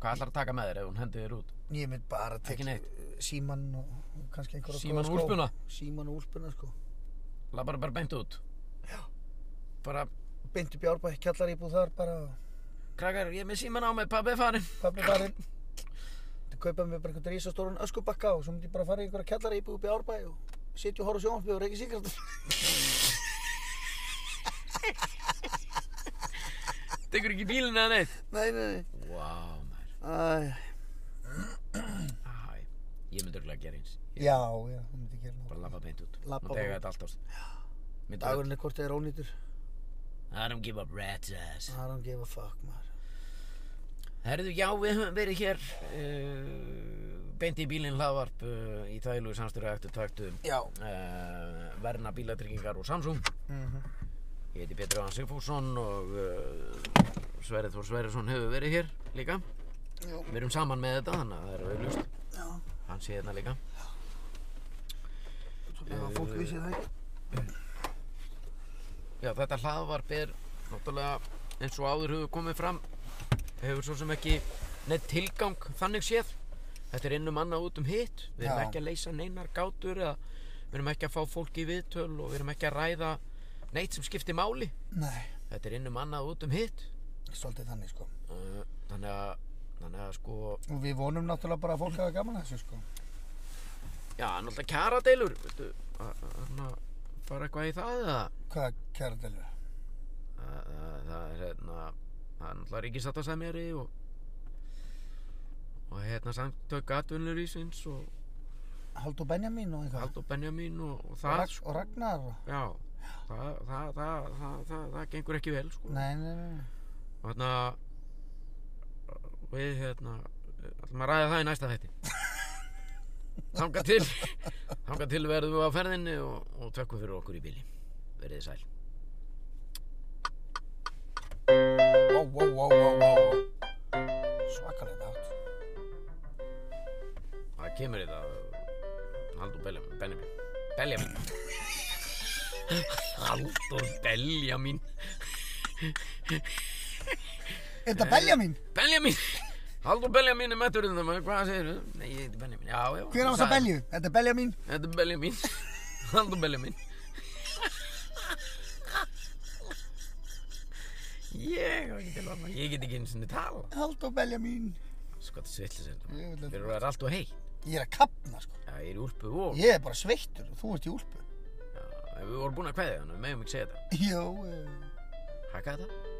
Speaker 1: Hvað ætlar að taka með þér ef hún hendi þér út?
Speaker 2: Ég mynd bara
Speaker 1: Ekki
Speaker 2: tekið síman og og kannski einhverja
Speaker 1: Símann og
Speaker 2: góða skó.
Speaker 1: úlpuna?
Speaker 2: Síman og úlpuna, sko.
Speaker 1: Laða bara, bara beint út Bara,
Speaker 2: Beinti Bjárbæ, kjallar íbúð þar bara og
Speaker 1: krakkar, ég er með síman á mig, pabbi er farinn
Speaker 2: pabbi farinn. Þetta kaupaði mér bara einhvern rísastórun öskubakka og svo myndi ég bara fara í einhverja kjallar íbúð upp í Árbæ og sitja og horfa sjónvarpið og reykja sigartur.
Speaker 1: Tekur ekki bílinn eða neitt
Speaker 2: <laughs> nei, nei, nei.
Speaker 1: Vá, maður
Speaker 2: Æ,
Speaker 1: Æ, ég myndi örgulega að gera eins
Speaker 2: já, já, hún myndi gera nátt.
Speaker 1: Bara labba beint út
Speaker 2: Labba
Speaker 1: Má tega
Speaker 2: bara.
Speaker 1: þetta allt ást Myndi öll
Speaker 2: Dagurinn er hvort þið er ónýtur.
Speaker 1: I don't give a rat's ass
Speaker 2: Það er hann gefa fuck, maður.
Speaker 1: Herðu, já, við höfum verið hér uh, Beint í bílinn hlaðvarp uh, Í tælu samstöru eftir taktu
Speaker 2: Já.
Speaker 1: uh, Verna bílatryggingar og Samsung
Speaker 2: Mm
Speaker 1: Ég heiti Petri Áðan Sigfússon Og uh, Sverrið Þór Sverrisson hefur verið hér líka
Speaker 2: Já.
Speaker 1: Við erum saman með þetta, þannig að það er auðlust
Speaker 2: Já,
Speaker 1: Hann sé hérna líka
Speaker 2: svo bara fólk vissi það ekki.
Speaker 1: Já, þetta hlaðvarp er náttúrulega eins og áður hefur komið fram hefur svo sem ekki neitt tilgang þannig séð þetta er innum annað út um hitt við erum
Speaker 2: Já.
Speaker 1: ekki að leysa neinar gátur eða við erum ekki að fá fólk í viðtöl og við erum ekki að ræða neitt sem skiptir máli
Speaker 2: Nei,
Speaker 1: þetta er innum annað út um hitt
Speaker 2: svolítið þannig, sko.
Speaker 1: Uh, þannig að þannig að sko
Speaker 2: Og við vonum náttúrulega bara að fólk hafa gaman að þessu, sko.
Speaker 1: já, náttúrulega kjaradeilur veitu, að, að, að fara eitthvað í það eða
Speaker 2: Hvað kæra delur?
Speaker 1: það, það, það er hérna það er náttúrulega ríkisattasemjari og og hérna samtök atvinnurísins og
Speaker 2: Haldur Benjamin og eitthvað?
Speaker 1: Haldur Benjamin og, og
Speaker 2: og,
Speaker 1: það
Speaker 2: Rag, og Ragnar og...
Speaker 1: já, það, það, það, það, það, það gengur ekki vel sko.
Speaker 2: Nei, nei, nei.
Speaker 1: og hérna við hérna ætlum að ræða það í næsta þætti þangað til þangað til verðum við á ferðinni og, og tökum fyrir okkur í bíli verið sæl
Speaker 2: Ó, ó, ó, ó, ó. Svakalega nátt.
Speaker 1: Það kemur í þetta Haldur Benjamin Benjamin Benjamin Haldur Benjamin
Speaker 2: Er þetta Benjamin?
Speaker 1: Benjamin Haldur Benjamin er mættur um það Hvað segir þú? Nei, ég heiti Benjamin Já, já
Speaker 2: Hver á
Speaker 1: ég
Speaker 2: þess að
Speaker 1: sagði
Speaker 2: Belju? Þetta er Benjamin.
Speaker 1: það. Þetta er Benjamin Haldur Benjamin Ég, á ekki til annað. ég get ekki einu sinni tala
Speaker 2: Haldur Benjamin.
Speaker 1: Sko þetta svillis þetta
Speaker 2: Ég vil
Speaker 1: Þeir
Speaker 2: að-
Speaker 1: eru að vera alltaf hei
Speaker 2: Ég er að kapna, sko.
Speaker 1: Já, ég er í úlpu og
Speaker 2: Ég er bara sveittur og þú ert í úlpu.
Speaker 1: Já, en Við vorum búin að kveðja þannig, við megum ekki segja þetta
Speaker 2: <laughs> Jó, eh,
Speaker 1: Hækka þetta